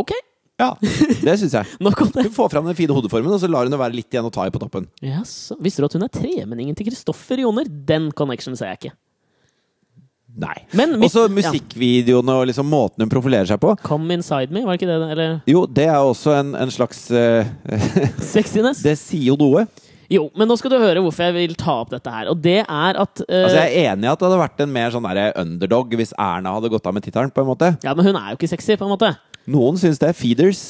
Ok,
ja, det syns jeg.
nok om det.
Hun får fram den fine hodeformen, og så lar hun det være litt igjen å ta i på toppen.
Jaså. Visste du at hun er tremenningen til Kristoffer Joner? Den connection ser jeg ikke.
Nei.
Men
Og
mitt-
så
ja.
musikkvideoene og liksom måten hun profilerer seg på.
Come inside me, var det ikke det? det- Eller
Jo, det er også en, en slags eh,
sexiness?
Det sier jo noe.
Jo, men nå skal du høre hvorfor jeg vil ta opp dette her. Og det er at eh,
Altså, jeg er enig i at det hadde vært en mer sånn der underdog hvis Erna hadde gått av med tittelen. på en måte.
Ja, men hun er jo ikke sexy, på en måte.
Noen syns det. Feeders.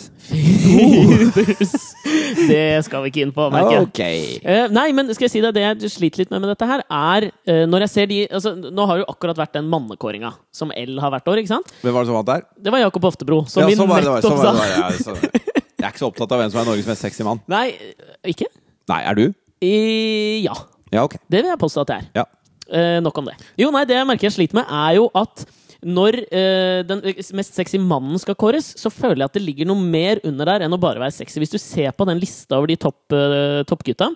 det skal vi ikke inn på, merker jeg.
Ok.
Eh, nei, men skal jeg si deg det jeg sliter litt med med dette her, er eh, når jeg ser de altså, Nå har jo akkurat vært den mannekåringa som L har hvert år, ikke sant?
Hvem var det som vant der?
Det var Jakob Oftebro, som
Ja,
vi
sånn var det,
nettopp
sånn var det,
sa.
sånn var det, ja, sånn. Jeg er ikke så opptatt av hvem som er Norges mest sexy mann.
Nei, ikke?
Nei, er du?
I, ja.
Ja, ok.
Det vil jeg påstå at det er.
Ja.
Eh, nok om det. Jo, nei, det jeg merker jeg sliter med, er jo at når eh, den mest sexy mannen skal kåres, så føler jeg at det ligger noe mer under der enn å bare være sexy. Hvis du ser på den lista over de topp, eh, toppgutta,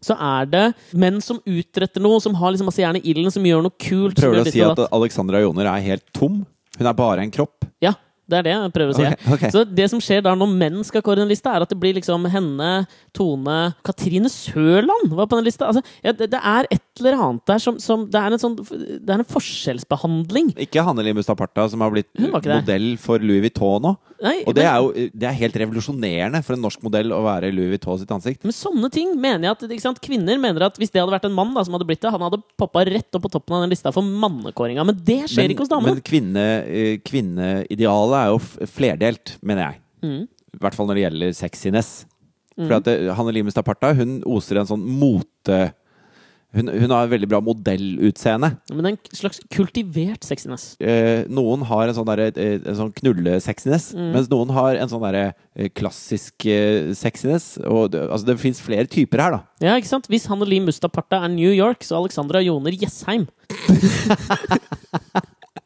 så er det menn som utretter noe, som har liksom masse jern i ilden, som gjør noe kult. som
Prøver
gjør
du å
ditt
si
og
at
datt.
Alexandra Joner er helt tom? Hun er bare en kropp?
Ja, det er det jeg prøver å si.
Ok,
her.
ok.
Så det som skjer da når menn skal kåre en liste, er at det blir liksom henne, Tone Katrine Sørland var på den lista! Altså, ja, det, det er et eller annet der som, som det, er en sånn, det er en forskjellsbehandling.
Ikke Hanneli Mustaparta, som har blitt
Hun var ikke der.
modell for Louis Vuitton nå.
Nei,
Og det er jo det er helt revolusjonerende for en norsk modell å være Louis Vuitton sitt ansikt.
men sånne ting mener jeg at ikke sant? Kvinner mener at hvis det hadde vært en mann da, som hadde blitt det, han hadde poppa rett opp på toppen av den lista for mannekåringa. Men det skjer ikke hos damene.
men kvinne, eh, kvinneidealet er jo f- flerdelt, mener jeg.
Mm.
I hvert fall når det gjelder sexiness. For at det- Hanne Lime Staparta hun oser en sånn mote... Hun, hun har veldig bra modellutseende.
Men det er en slags kultivert sexiness.
Eh, noen har en sånn, derre, eh, en sånn knullesexiness,
Mm.
mens noen har en sånn derre, eh, klassisk eh, sexiness. Og det, altså, det fins flere typer her, da.
Ja, ikke sant? Hvis Hanne Lim Mustaparta er New York, så er Alexandra Joner Jessheim.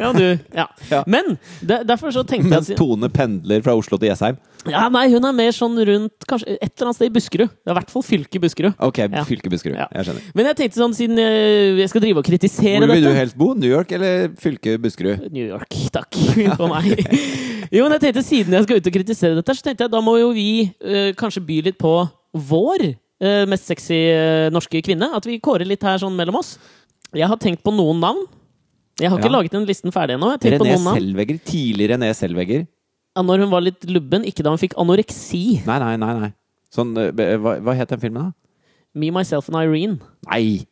ja, du. Ja.
Ja.
Men de, derfor så tenkte
Mens
jeg at
Tone pendler fra Oslo til Jessheim.
ja, Nei, hun er mer sånn rundt kanskje et eller annet sted i Buskerud. Det er i hvert fall fylket Buskerud.
Ok,
Ja.
fylke Buskerud.
Ja.
Jeg skjønner.
Men jeg tenkte sånn, siden eh, jeg skal drive og kritisere
Hvor vil du
dette
helst bo? New York eller fylke Buskerud?
New York, takk for meg. Jo, men jeg tenkte Siden jeg skal ut og kritisere dette, så tenkte jeg da må jo vi eh, kanskje by litt på vår eh, mest sexy eh, norske kvinne. At vi kårer litt her sånn mellom oss. Jeg har tenkt på noen navn. Jeg har ikke
Ja.
laget den listen ferdig ennå. Jeg har tenkt på
René
noen navn.
Selvegger. Tidlig René Selvegger.
Ja, når hun var litt lubben, ikke da hun fikk anoreksi.
Nei, nei, nei. nei. Sånn, eh, be- hva, hva het den filmen, da?
Me, Myself and Irene.
Nei!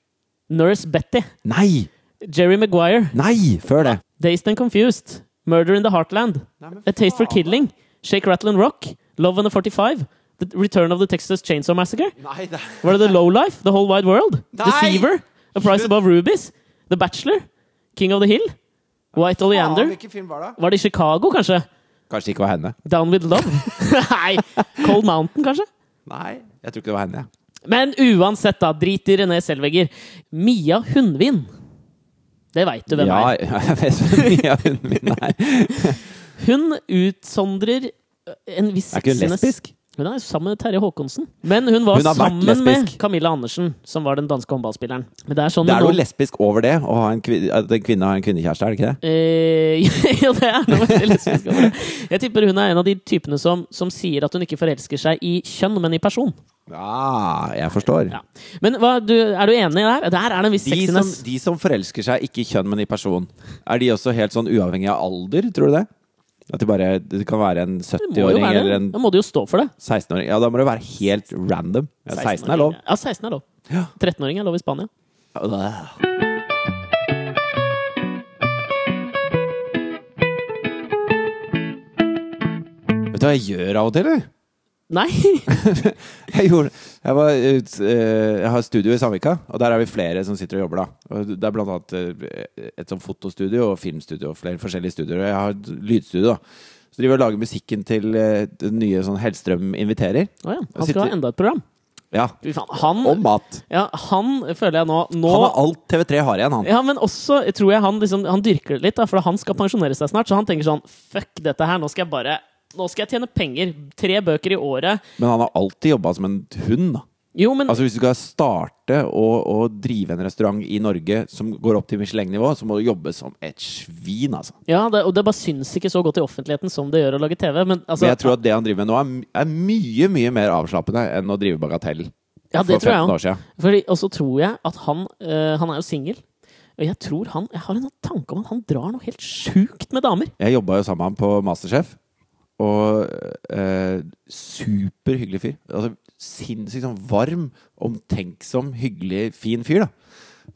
Nurse Betty.
Nei!
Jerry Maguire.
Nei! Før det.
Dazed and Confused. Murder in the Heartland. A Taste for Killing. Shake, Rattle and Rock. Love and the 45. The Return of the Texas Chainsaw Massacre.
Nei, det
Var det The Low Life? The Whole Wide World?
Nei!
Deceiver? A Price Above Rubies? The Bachelor? King of the Hill? White Oleander?
Hvilken film var det?
Var det i Chicago, kanskje?
Kanskje det ikke var henne.
Down With Love? Nei! Cold Mountain, kanskje?
Nei, jeg tror ikke det var henne. Ja.
Men uansett, da. Drit i René Selvegger. Mia Hundvin. Det veit du hvem
ja,
er.
jeg vet hvem Mia Hunden min er.
Hun utsondrer øh, en viss
Er ikke hun
sexiness.
lesbisk?
Hun er jo sammen med Terje Håkonsen. Men hun var
Hun har vært
sammen med
lesbisk.
Camilla Andersen, som var den danske håndballspilleren. Men det er sånn
Det er
nå-
noe lesbisk over det, å ha en kvinne, at en kvinne har en kvinnekjæreste, er det ikke det?
Eh, ja, det er noe veldig lesbisk over det. Jeg tipper hun er en av de typene som, som sier at hun ikke forelsker seg i kjønn, men i person.
Ja, jeg forstår.
Ja. Men hva, du, er du enig der? Der er det en viss
De som,
sexiness.
de som forelsker seg ikke i kjønn, men i person, er de også helt sånn uavhengig av alder, tror du det? At det bare det kan være en
Det må jo
70-åring
være-
eller en
Da må du jo stå for det.
16-åring? Ja, da må det være helt random. Ja, 16 er lov.
Ja, 16 er lov.
Ja.
13-åring er lov i Spania.
Vet du hva jeg gjør av og til, eller?
Nei!
Jeg, gjorde, jeg, var, ut- eh, jeg har studio i Sandvika, og der er vi flere som sitter og jobber. da og Det er blant annet eh, et sånt fotostudio og filmstudio og flere forskjellige studioer. Og jeg har et lydstudio, da. Så driver jeg og lager musikken til eh, den nye sånn Hellstrøm inviterer.
Å ja. Han
Sitter-
skal ha enda et program.
Ja.
Fy faen. Han,
Og mat.
ja, han føler jeg nå, nå
Han har alt TV3 har igjen, han.
Ja, men også tror jeg han, liksom, han dyrker det litt, da, for han skal pensjonere seg snart. Så han tenker sånn Fuck dette her, nå skal jeg bare Nå skal jeg tjene penger. Tre bøker i året.
Men han har alltid jobba som en hund, da.
Jo, men
Altså Hvis du skal starte å, å drive en restaurant i Norge som går opp til Michelin-nivå, så må du jobbe som et svin, altså.
Ja, det, og det bare syns ikke så godt i offentligheten som det gjør å lage TV. Men, altså,
Men jeg tror at det han driver med nå, er, my- er mye mye mer avslappende enn å drive bagatell.
Ja, det
for
tror jeg
15
også.
år siden.
Fordi, og så tror jeg at han eh, Han er jo singel. Og jeg tror han Jeg har en sånn tanke om at han drar noe helt sjukt med damer.
Jeg jobba jo sammen med ham på Masterchef. Og eh, superhyggelig fyr. Altså, Sinnssykt sånn varm, omtenksom, hyggelig, fin fyr. da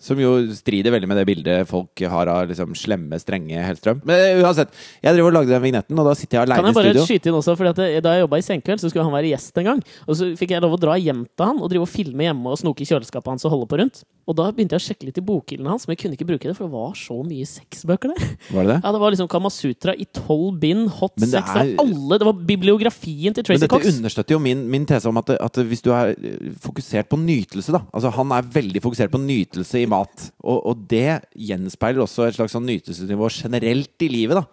Som jo strider veldig med det bildet folk har av liksom, slemme, strenge Hellstrøm. Men eh, uansett, jeg driver og lagde den vignetten, og da sitter jeg
Kan
aleine
jeg
i
bare
studio.
skyte inn også, fordi at det- Da jeg jobba i Senkveld, så skulle han være gjest en gang. Og Så fikk jeg lov å dra hjem til han og drive og filme hjemme og snoke i kjøleskapet hans. Og holde på rundt Og da begynte jeg å sjekke litt i bokhyllen hans, men jeg kunne ikke bruke det, for det var så mye sexbøker der.
Var det det?
Ja, Det var liksom Kamasutra i tolv bind, hot
Men
sex
det
det er...
er-
alle, det var bibliografien til
Men
Tracy
dette
Cox.
understøtter jo min, min tese om at, at hvis du er eh, fokusert på nytelse, da Altså han er veldig fokusert på nytelse i mat. Og, og det gjenspeiler også et slags sånn nytelsesnivå generelt i livet, da.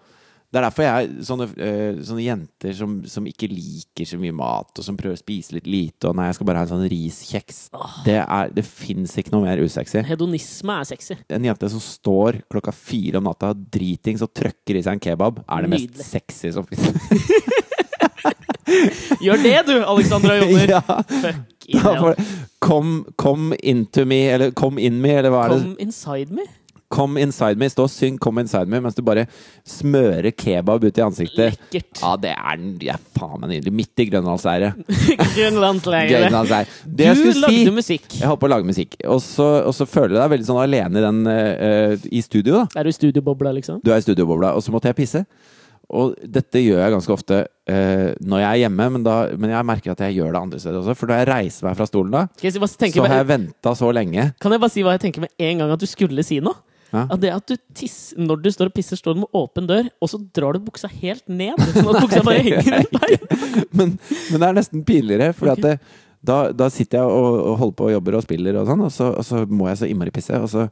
Det er derfor jeg sånne, eh, sånne jenter som, som ikke liker så mye mat, og som prøver å spise litt lite, og nei, jeg skal bare ha en sånn riskjeks. Det, er- det fins ikke noe mer usexy.
Hedonisme er sexy.
En jente som står klokka fire om natta dritings og trøkker i seg en kebab, er det mest
Nydelig.
sexy som fins.
Gjør det, du, Alexandra Joner!
ja.
Fuck
Da
yeah.
får det- Come, come into me, eller come in me, eller hva er det?
Come inside me.
Come inside me. Stå og syng 'Come inside me' mens du bare smører kebab ut i ansiktet.
Lekkert.
Ja, det er, den- det er faen meg nydelig. Midt i grønlandsleiret.
Grønlandsleiret.
Grønlandsleiret.
Du
Det jeg skulle
lagde
si
musikk.
Jeg holdt på å lage musikk, og så, og så føler du deg veldig sånn alene i, den, eh, eh, i studio. da
Er du i studiobobla, liksom?
Du er i studiobobla, og så måtte jeg pisse. Og dette gjør jeg ganske ofte eh, når jeg er hjemme, men, da, men jeg merker at jeg gjør det andre steder også. For når jeg reiser meg fra stolen da,
Skal jeg si- bare tenke
så har
med,
jeg venta så lenge.
kan jeg bare si hva jeg tenker med en gang at du skulle si noe?
Ja.
At det at du tiss, Når du står og pisser, står du med åpen dør, og så drar du buksa helt ned. Sånn at buksa bare henger rundt deg.
men, men det er nesten pinligere, for da, da sitter jeg og, og holder på og jobber og spiller, og sånn, og så, og så må jeg så innmari pisse. Og så,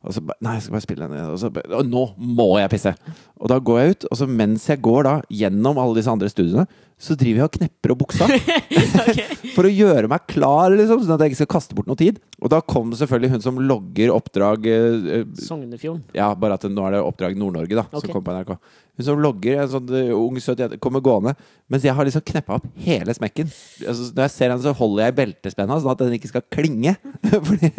og så ba- Nei, jeg skal bare spille den. Og så ba- «Å, nå må jeg pisse! Og da går jeg ut, og så mens jeg går da gjennom alle disse andre studiene, så driver jeg og knepper opp buksa
Ok.
for å gjøre meg klar, liksom, sånn at jeg ikke skal kaste bort noe tid. Og da kom selvfølgelig hun som logger oppdrag eh, eh,
Sognefjorden.
ja, bare at nå er det Oppdrag Nord-Norge, da,
Ok.
som kommer på NRK. Hun som logger, en sånn eh, ung, søt jente, kommer gående. Mens jeg har liksom kneppa opp hele smekken. Altså, når jeg ser henne, så holder jeg i beltespenna, sånn at den ikke skal klinge. Fordi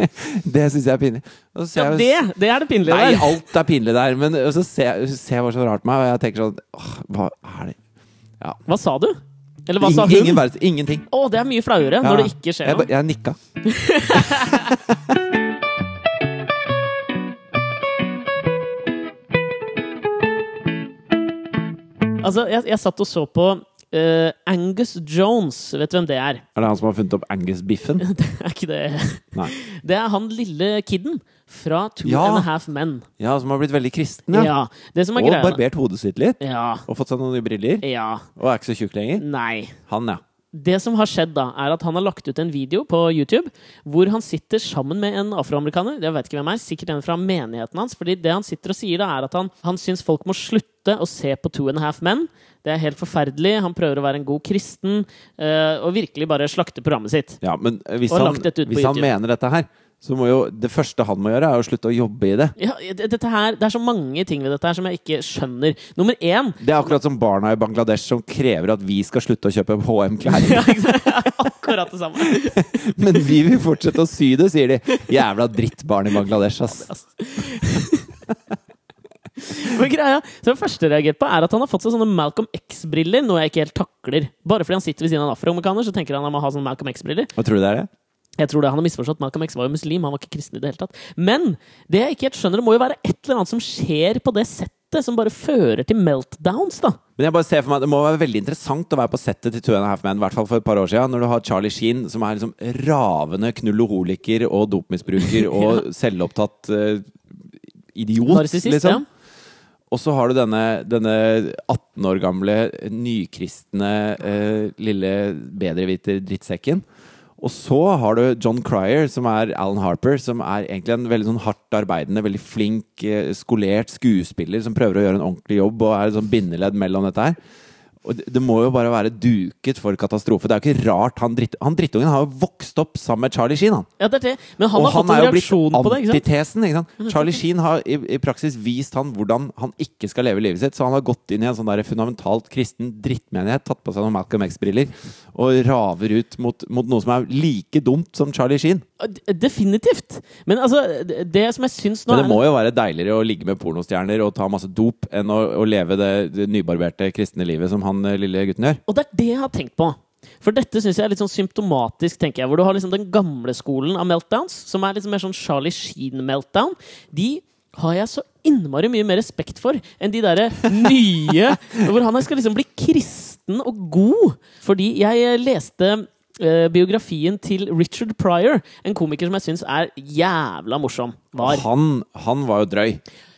det syns jeg er pinlig. Og så ser
Ja,
jeg-
det, det er det pinlige
Nei,
der.
alt er pinlig der. Men og så ser jeg- så ser jeg hva som er rart med meg, og jeg tenker sånn åh, Hva er det
Hva sa du? Eller hva sa
Ingen- Ingen
hun?
verdens Ingenting.
Å, det er mye flauere
Ja.
når det ikke skjer
Jeg, ba-
noe.
jeg nikka.
Altså, jeg, jeg satt og så på eh, Angus Jones. Vet du hvem det er?
Er det han som har funnet opp Angus-biffen?
Det er ikke det.
Nei.
Det er han lille kidden fra Two
Ja.
and a Half Men.
Ja, som har blitt veldig kristen,
Ja.
ja.
Det som er
Og
greia
barbert hodet sitt litt.
Ja.
Og fått seg noen nye briller.
Ja.
Og er ikke så tjukk lenger.
Nei.
Han, ja.
Det som har skjedd, da, er at han har lagt ut en video på YouTube hvor han sitter sammen med en afroamerikaner. Jeg vet ikke hvem er, sikkert en fra menigheten hans. fordi det han sitter og sier, da, er at han, han syns folk må slutte å se på Two and a Half Men. Det er helt forferdelig. Han prøver å være en god kristen eh, og virkelig bare slakte programmet sitt.
Ja, men hvis
Og
han,
lagt dette ut på
hvis han
YouTube.
mener dette her, så må jo det første han må gjøre, er å slutte å jobbe i det.
Ja, det- dette her, det er så mange ting ved dette her som jeg ikke skjønner. Nummer én
Det er akkurat som barna i Bangladesh som krever at vi skal slutte å kjøpe HM-klær.
Ja, ikke sant? Akkurat det samme.
Men vi vil fortsette å sy det, sier de. Jævla drittbarn i Bangladesh, ass.
Men greia, så det første jeg reagerte på, er at han har fått seg sånne Malcolm X-briller, noe jeg ikke helt takler. Bare fordi han sitter ved siden av en afroamerikaner, så tenker han han må ha sånne Malcolm X-briller.
Hva tror du det er det?
Jeg tror det, Han har misforstått. Malcolm X var jo muslim, han var ikke kristen i det hele tatt. Men det jeg ikke helt skjønner, det må jo være et eller annet som skjer på det settet settet som bare fører til meltdowns, da.
Men jeg bare ser for meg, det må være veldig interessant å være på settet til Two and a Half Men, i hvert fall for et par år siden, når du har Charlie Sheen, som er liksom ravende knulloholiker og dopmisbruker og selvopptatt eh, idiot,
Narsissist,
liksom. Og så har du denne, denne 18 år gamle, nykristne, eh, lille bedreviter-drittsekken. Og så har du John Cryer, som er Alan Harper, som er egentlig en veldig sånn hardt arbeidende, veldig flink, eh, skolert skuespiller som prøver å gjøre en ordentlig jobb og er et sånn bindeledd mellom dette her. Og det, det må jo bare være duket for katastrofe. Det er jo ikke rart han, dritt, han drittungen har jo vokst opp sammen med Charlie Sheen, han.
Ja, det er det. Men han
og
har fått en reaksjon på det, ikke sant?
antitesen. Ikke sant? Charlie Sheen har i, i praksis vist han hvordan han ikke skal leve livet sitt. Så han har gått inn i en sånn der fundamentalt kristen drittmenighet, tatt på seg noen Malcolm X-briller og raver ut mot, mot noe som er like dumt som Charlie Sheen.
D- Definitivt! Men altså, det det som jeg syns nå
Men det
er
må jo være deiligere å ligge med pornostjerner og ta masse dop enn å, å leve det, det nybarberte kristne livet som han eh, lille gutten gjør.
Og det er det jeg har tenkt på. For dette syns jeg er litt sånn symptomatisk, tenker jeg. Hvor du har liksom den gamle skolen av meltdowns, som er liksom mer sånn Charlie Sheen-meltdown. De har jeg så innmari mye mer respekt for enn de derre nye Hvor han skal liksom bli kristen og god. Fordi jeg leste eh, biografien til Richard Pryor, en komiker som jeg syns er jævla morsom. Var.
Han, han var jo drøy.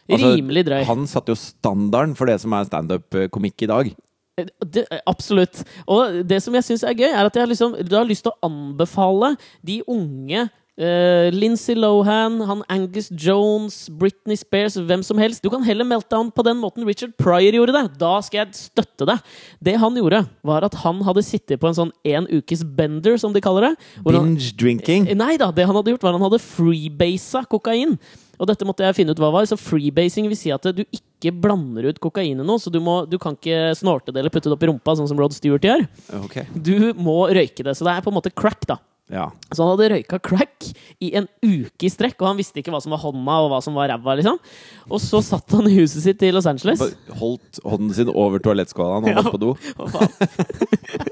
Altså,
Rimelig drøy.
Han satte jo standarden for det som er standup-komikk i dag.
Det, absolutt. Og det som jeg syns er gøy, er at jeg liksom, du har lyst til å anbefale de unge eh, Lindsay Lohan, han Angus Jones, Britney Spears, hvem som helst. Du kan heller meltdown på den måten Richard Pryor gjorde det. Da skal jeg støtte deg. Det han gjorde, var at han hadde sittet på en sånn en ukes bender, som de kaller det. hvor han-
Binge drinking.
Nei da, det han hadde gjort var han hadde freebasa kokain. Og dette måtte jeg finne ut hva var. Så freebasing vil si at du ikke blander ut kokain i noe, så du, må, du kan ikke snorte det eller putte det opp i rumpa, sånn som Rod Stewart gjør.
Ok.
Du må røyke det. Så det er på en måte crack, da.
Ja.
Så han hadde røyka crack i en uke i strekk, og han visste ikke hva som var hånda og hva som var ræva, liksom. Og så satt han i huset sitt i Los Angeles.
Bare Holdt hånden sin over toalettskåla når han
Ja.
var på do.
Hva faen?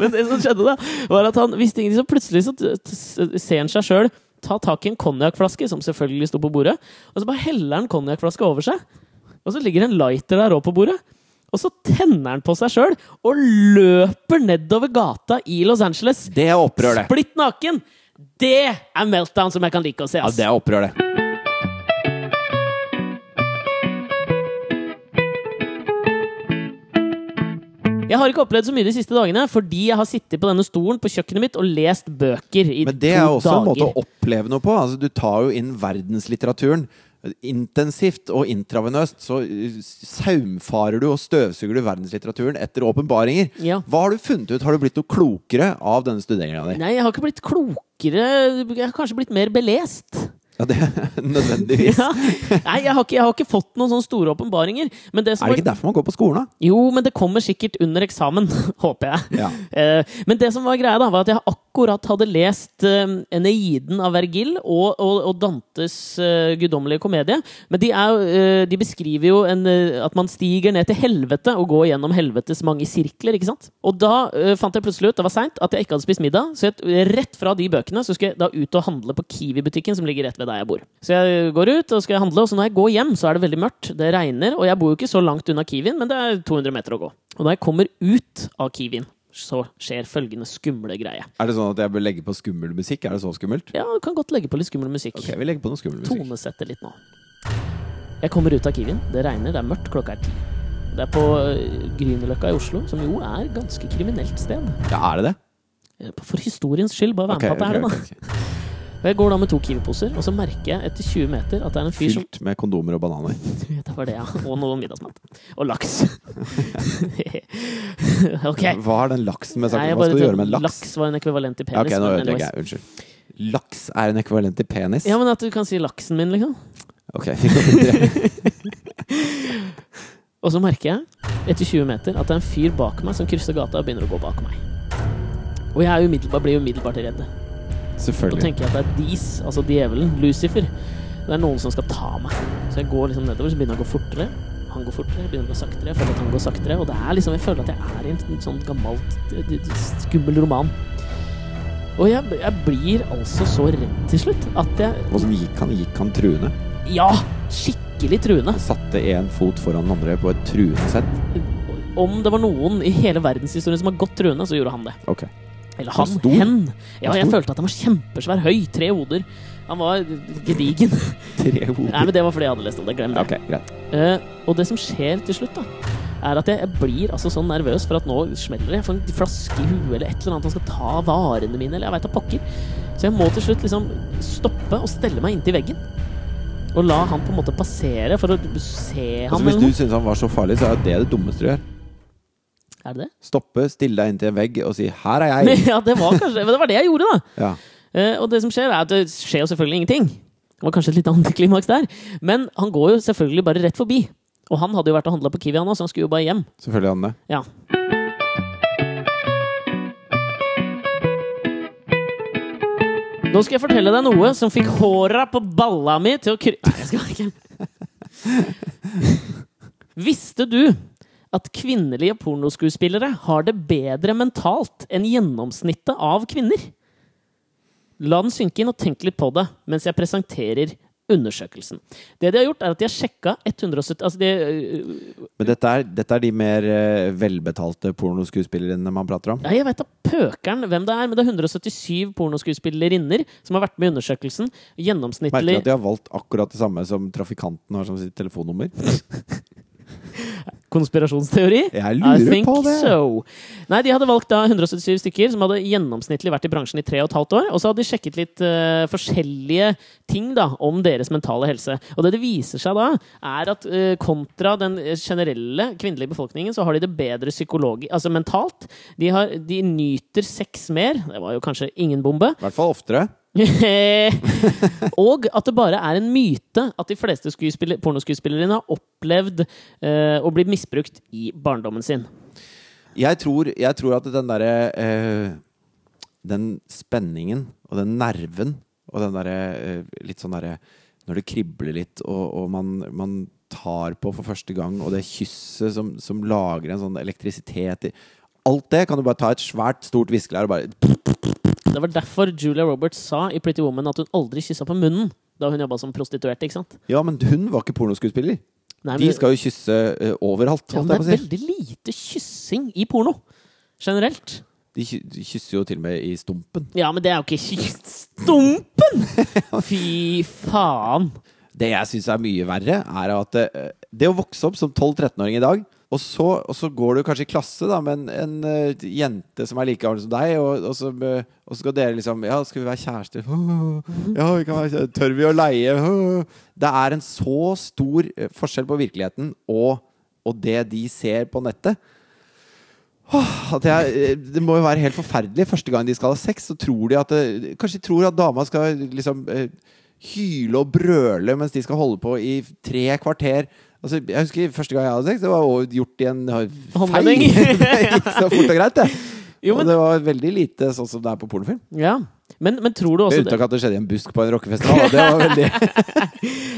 Men det som skjedde, da, var at han visste ingenting. Så plutselig så t- t- ser han seg sjøl ta tak i en konjakkflaske, som selvfølgelig sto på bordet, og så bare heller han konjakkflaska over seg. Og så ligger en lighter der òg på bordet. Og så tenner han på seg sjøl og løper nedover gata i Los Angeles.
Det er opprør, det.
Splitt naken! Det er meltdown som jeg kan like å se.
Ja,
ass.
det er opprør, det.
Jeg har ikke opplevd så mye de siste dagene fordi jeg har sittet på denne stolen på kjøkkenet mitt og lest bøker i
Men det
to
er også
dager.
en måte å oppleve noe på. Altså, du tar jo inn verdenslitteraturen. Intensivt og intravenøst så uh, saumfarer du og støvsuger du verdenslitteraturen etter åpenbaringer.
Ja.
Hva har du funnet ut? Har du blitt noe klokere av denne studeringa di?
Nei, jeg har ikke blitt klokere. Jeg har kanskje blitt mer belest.
Ja, det nødvendigvis.
Ja. Nei, jeg har, ikke, jeg har ikke fått noen sånne store åpenbaringer. Men det som
Er det
var,
ikke derfor man går på skolen, da?
jo, men det kommer sikkert under eksamen, håper jeg.
Ja.
Eh, men det som var greia, da, var at jeg akkurat hadde lest eh, Eneiden av Vergil og, og, og Dantes eh, guddommelige komedie. Men de, er, jo, eh, de beskriver jo en, eh, at man stiger ned til helvete og går gjennom helvetes mange sirkler. ikke sant? Og da eh, fant jeg plutselig ut det var sent, at jeg ikke hadde spist middag. Så jeg, rett fra de bøkene så skulle jeg da ut og handle på Kiwi-butikken som ligger rett ved der jeg bor. Så jeg går ut og skal handle, og så når jeg går hjem, så er det veldig mørkt, det regner, og jeg bor jo ikke så langt unna Kiwien, men det er 200 meter å gå. Og da jeg kommer ut av Kiwien så skjer følgende skumle greie.
Er det sånn at jeg bør legge på skummel musikk? Er det så skummelt?
Ja, du kan godt legge på litt skummel musikk.
Ok, vi legger på noe skummel musikk.
Tonesette litt nå. Jeg kommer ut av Kiwien. Det regner, det er mørkt, klokka er ti. Det er på øh, Grünerløkka i Oslo, som jo er ganske kriminelt sted.
Ja, er det det?
Eh, For historiens skyld, bare vær
Ok,
med på at det er
ok,
det,
ok, ok.
da. Og jeg går da med to Kiwi-poser, og så merker jeg etter 20 meter at det er en fyr som
Fylt med kondomer og bananer.
Det var det, ja. Og noe middagsmat. Og laks. ok.
Eh, Hva har den laksen
Nei,
med saken?
jeg
Hva
bare
skal du gjøre
tenkte-
med en laks?
Laks var en ekvivalent til
Ja,
penis.
ok, nå
men
ødelegger
anyways.
jeg. Unnskyld. Laks er en ekvivalent til penis?
Ja, men at du kan si laksen min, liksom.
Ok, vi går videre.
Og så merker jeg, etter 20 meter, at det er en fyr bak meg som krysser gata og begynner å gå bak meg. Og jeg er umiddelbart, blir umiddelbart redd. Da
Selvfølgelig.
tenker jeg at det er Dis, altså djevelen, Lucifer. Det er noen som skal ta meg. Så jeg går liksom nedover, så begynner jeg å gå fortere. Han går fortere, jeg begynner å gå saktere. Jeg føler at han går saktere. Og det er liksom, jeg føler at jeg er i en sånn gammelt, skummel roman. Og jeg, jeg blir altså så redd til slutt at jeg
Og som gikk han, gikk han truende.
Ja! Skikkelig skikkelig truende.
Satte én fot foran den andre på et truende sett.
Om det var noen i hele verdenshistorien som har gått truende, så gjorde han det.
Ok.
Eller
Han
han.
var stor.
Hen. Ja,
Han var
jeg
stor.
følte at han var kjempesvær. Høy. Tre hoder. Han var gedigen.
Tre
Nei,
hoder.
men Det var fordi jeg hadde lest om det. Glem det.
Ok, greit.
Eh, og det som skjer til slutt, da, er at jeg, jeg blir altså sånn nervøs for at nå smeller det. Jeg får en flaske i huet eller et eller annet. Han skal ta varene mine, eller jeg veit da pokker. Så jeg må til slutt liksom stoppe og stelle meg inntil veggen. Og la han på en måte passere for å se ham.
Altså, hvis
eller
du
noe.
syns han var så farlig, så er jo det det dummeste du gjør.
Er det det?
Stoppe, stille deg inntil en vegg og si 'her er jeg'.
ja, det var kanskje Men det var det jeg gjorde, da.
Ja.
Eh, og det som skjer, er at det skjer jo selvfølgelig ingenting. Det var kanskje et lite antiklimaks der. Men han går jo selvfølgelig bare rett forbi. Og han hadde jo vært og handla på Kiwi, han òg, så han skulle jo bare hjem.
Selvfølgelig, Anne.
Ja. Nå skal jeg fortelle deg noe som fikk håra på balla mi til å kry... Nei, jeg skal ikke Visste du at kvinnelige pornoskuespillere har det bedre mentalt enn gjennomsnittet av kvinner? La den synke inn og tenk litt på det mens jeg presenterer undersøkelsen. Det de har gjort, er at de har sjekka 170 Altså, de øh,
Men dette er, dette er de mer eh, velbetalte pornoskuespillerne man prater om?
Ja, jeg veit da pøkeren hvem det er, men det er 177 pornoskuespillerinner som har vært med i undersøkelsen. Gjennomsnittlig
Merker at de har valgt akkurat det samme som trafikanten har som sitt telefonnummer.
konspirasjonsteori.
Jeg lurer
I think
på det.
So. Nei, de hadde valgt da 177 stykker som hadde gjennomsnittlig vært i bransjen i tre og et halvt år. Og så hadde de sjekket litt eh, forskjellige ting da, om deres mentale helse. Og det det viser seg da, er at eh, kontra den eh, generelle kvinnelige befolkningen, så har de det bedre psykologi... Altså mentalt. De, har, de nyter sex mer. Det var jo kanskje ingen bombe.
I hvert fall oftere.
og at det bare er en myte at de fleste skuespiller- pornoskuespillerne har opplevd eh, å bli misbrukt i barndommen sin.
Jeg tror, jeg tror at den derre eh, Den spenningen og den nerven og den derre eh, litt sånn derre Når det kribler litt, og, og man, man tar på for første gang, og det kysset som, som lager en sånn elektrisitet i Alt det kan du bare ta et svært, stort viskelær og bare
Det var derfor Julia Roberts sa i Pretty Woman at hun aldri kyssa på munnen da hun jobba som prostituert. ikke sant?
Ja, men hun var ikke pornoskuespiller.
Nei,
De skal jo kysse eh, overalt.
ja, men det er
holdt jeg på å si.
veldig lite kyssing i porno. Generelt.
De ky- de kysser jo til og med i stumpen.
Ja, men det er jo ikke kyss- Stumpen! Fy faen.
Det jeg syns er mye verre, er at det, det å vokse opp som 12-13-åring i dag og så, og så går du kanskje i klasse da, med en, en eh, jente som er like gammel som deg, og, og, så, eh, og så skal dere liksom Ja, skal vi være kjærester? Ja, vi kan være kjærester. Tør vi å leie? Det er en så stor eh, forskjell på virkeligheten og, og det de ser på nettet. Åh, At jeg, eh, det må jo være helt forferdelig. Første gang de skal ha sex, så tror de at det, Kanskje de tror at dama skal liksom eh, hyle og brøle mens de skal holde på i tre kvarter. Altså, jeg husker Første gang jeg hadde sex, det var jo gjort i en eh, feil. det
Håndvending.
gikk så fort og greit, det.
Jo, men-
Og det var veldig lite sånn som det er på pornofilm.
Ja. Men, men tror du også
Med unntak av at det skjedde i en busk på en rockefestival. og Det var veldig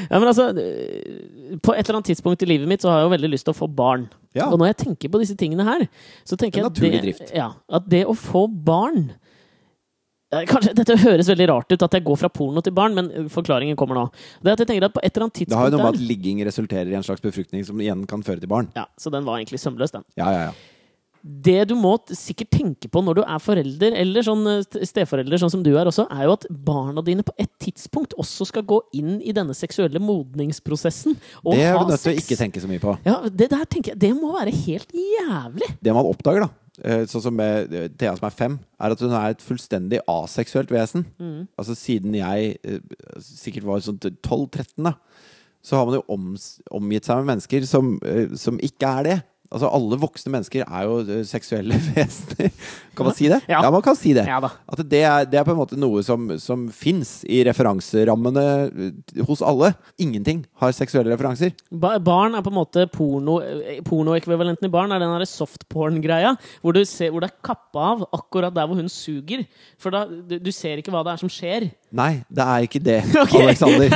Ja, men altså, øh, på et eller annet tidspunkt i livet mitt så har jeg jo veldig lyst til å få barn.
Ja.
Og når jeg tenker på disse tingene her, så tenker
En
jeg at
naturlig
det, ja, at det å få barn Eh, Kanskje Dette høres veldig rart ut, at jeg går fra porno til barn, men øh, forklaringen kommer nå. Det er at jeg tenker at på et eller annet
Det har jo
tidspunkt
noe
der,
med at ligging resulterer i en slags befruktning som igjen kan føre til barn.
ja, Så den var egentlig sømløs, den.
Ja, ja, ja.
Det du må t- sikkert tenke på når du er forelder, eller sånn eh, st- steforelder, sånn som du er også, er jo at barna dine på et tidspunkt også skal gå inn i denne seksuelle modningsprosessen og
Det er
ha
du nødt til å
sex.
ikke tenke så mye på.
Ja, det der tenker jeg Det må være helt jævlig!
det man oppdager, da eh, Sånn som med eh, Thea som er fem, er at hun er et fullstendig aseksuelt vesen.
Mm.
Altså siden jeg eh, sikkert var sånn 12-13, da, så har man jo oms- omgitt seg med mennesker som, eh, som ikke er det. Altså alle voksne mennesker er jo eh, seksuelle vesener. Kan man si det?
Ja.
man kan si det.
Ja da.
At det er, det er på en måte noe som, som fins i referanserammene eh, hos alle. Ingenting har seksuelle referanser.
Ba barn er på en måte porno eh, pornoekvivalenten i barn er den derre softporn-greia. Hvor, du ser- hvor det er kappa av akkurat der hvor hun suger. For da, du, du ser ikke hva det er som skjer.
Nei, det er ikke det,
Ok.
Alexander.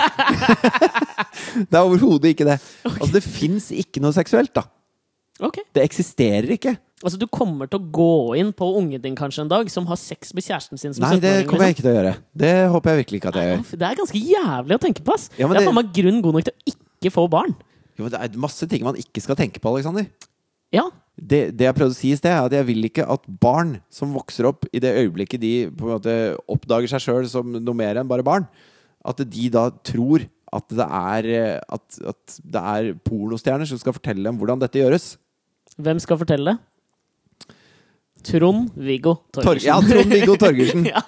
det er overhodet ikke det. Altså, det fins ikke noe seksuelt, da.
Ok
Det eksisterer ikke.
Altså Du kommer til å gå inn på ungen din kanskje en dag, som har sex med kjæresten sin som
Nei, det
17-åring, liksom.
kommer jeg ikke til å gjøre. Det håper jeg virkelig ikke at jeg gjør.
Uff, Det er ganske jævlig å tenke på, ass!
Ja, men
det er
det-
faen meg grunn god nok til å ikke få barn.
Jo, men det er masse ting man ikke skal tenke på, Aleksander.
Ja.
Det, det jeg prøvde å si i sted, er at jeg vil ikke at barn som vokser opp i det øyeblikket de på en måte oppdager seg sjøl som noe mer enn bare barn, at de da tror at det er, eh, at, at det er pornostjerner som skal fortelle dem hvordan dette gjøres.
Hvem skal fortelle det? Trond-Viggo
Tor
Torgersen.
ja, Trond-Viggo Torgersen.
Ja.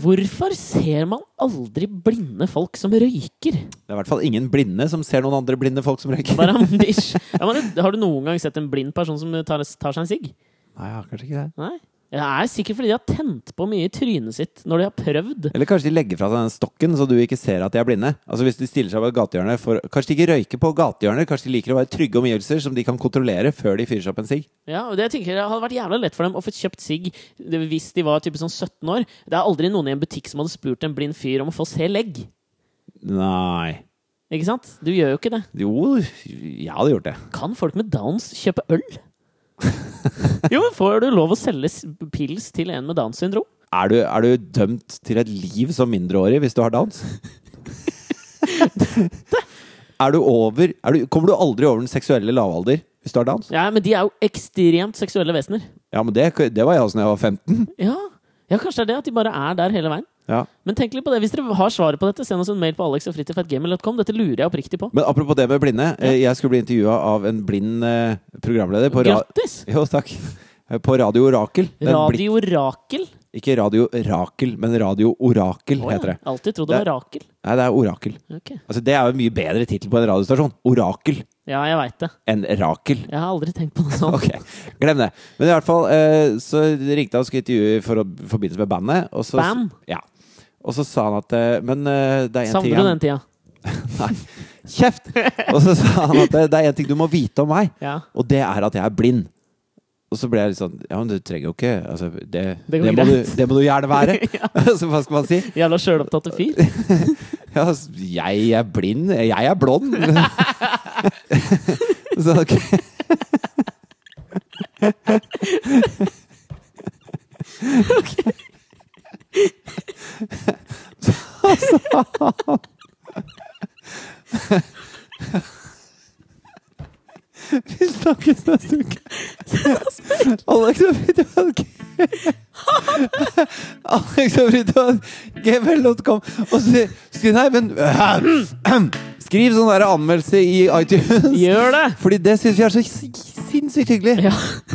Hvorfor ser man aldri blinde folk som røyker?
Det er i hvert fall ingen blinde som ser noen andre blinde folk som røyker.
Bare en bish. ja, men, det- har du noen gang sett en blind person som tar, tar seg en sigg?
Nei, ja, kanskje ikke det.
Nei. Det er sikkert fordi de har tent på mye i trynet sitt når de har prøvd.
Eller kanskje de legger fra seg den stokken, så du ikke ser at de er blinde. Altså hvis de stiller seg på et gatehjørne for, Kanskje de ikke røyker på gatehjørner, kanskje de liker å være i trygge omgivelser som de kan kontrollere før de fyrer seg opp en sigg.
Ja, og det jeg tenker jeg hadde vært jævla lett for dem å få kjøpt sigg det- hvis de var type sånn 17 år. Det er aldri noen i en butikk som hadde spurt en blind fyr om å få se legg.
Nei
Ikke sant? Du gjør jo ikke det.
Jo, jeg hadde gjort det.
Kan folk med downs kjøpe øl? jo, men får du lov å selge s- pils til en med Downs syndrom?
Er du, er du dømt til et liv som mindreårig hvis du har downs? er du over er du, Kommer du aldri over den seksuelle lavalder hvis du har downs?
Ja, men de er jo ekstremt seksuelle vesener.
Ja, men det, det var jeg også da jeg var 15.
Ja. ja, kanskje det er det at de bare er der hele veien.
Ja.
Men tenk litt på det. Hvis dere har svaret på dette, send oss en mail på alexogfritidfatgamer.com. Dette lurer jeg oppriktig på.
Men apropos det med blinde. eh, Jeg skulle bli intervjua av en blind eh, programleder på ra
Grattis!
Jo, takk. Eh, På Radio Orakel. Den bli-
Radio Rakel.
ikke Radio Rakel, men Radio Orakel
Å,
heter
ja.
det.
Alltid trodd det var Rakel.
Nei, det er Orakel.
Ok.
Altså, det er jo en mye bedre tittel på en radiostasjon. Orakel
Ja, jeg veit det.
enn Rakel.
Jeg har aldri tenkt på noe sånt.
Ok, glem det. Men i hvert fall eh, så ringte han og skulle intervjue for å i forbindelse med bandet. Og så,
Band?
Ja. Og så sa han at eh, Men eh, det er én ting
Savner du den tida?
jeg- Kjeft! Og så sa han at eh, det er én ting du må vite om meg,
Ja.
og det er at jeg er blind. Og så ble jeg litt sånn Ja, men du trenger jo ikke altså, det, det,
Det går
må du,
greit.
det må du gjerne være. Så hva skal man si?
Jævla sjølopptatte fyr.
Ja, s- jeg er blind. Jeg er blond. så ok. Vi snakkes neste uke. Alex og Fridtjof Alex og Fridtjof gmail.com. Og så skriv Nei, men Skriv sånn der anmeldelse i iTunes.
Gjør det!
Fordi det syns vi er så s- sinnssykt hyggelig.
Ja.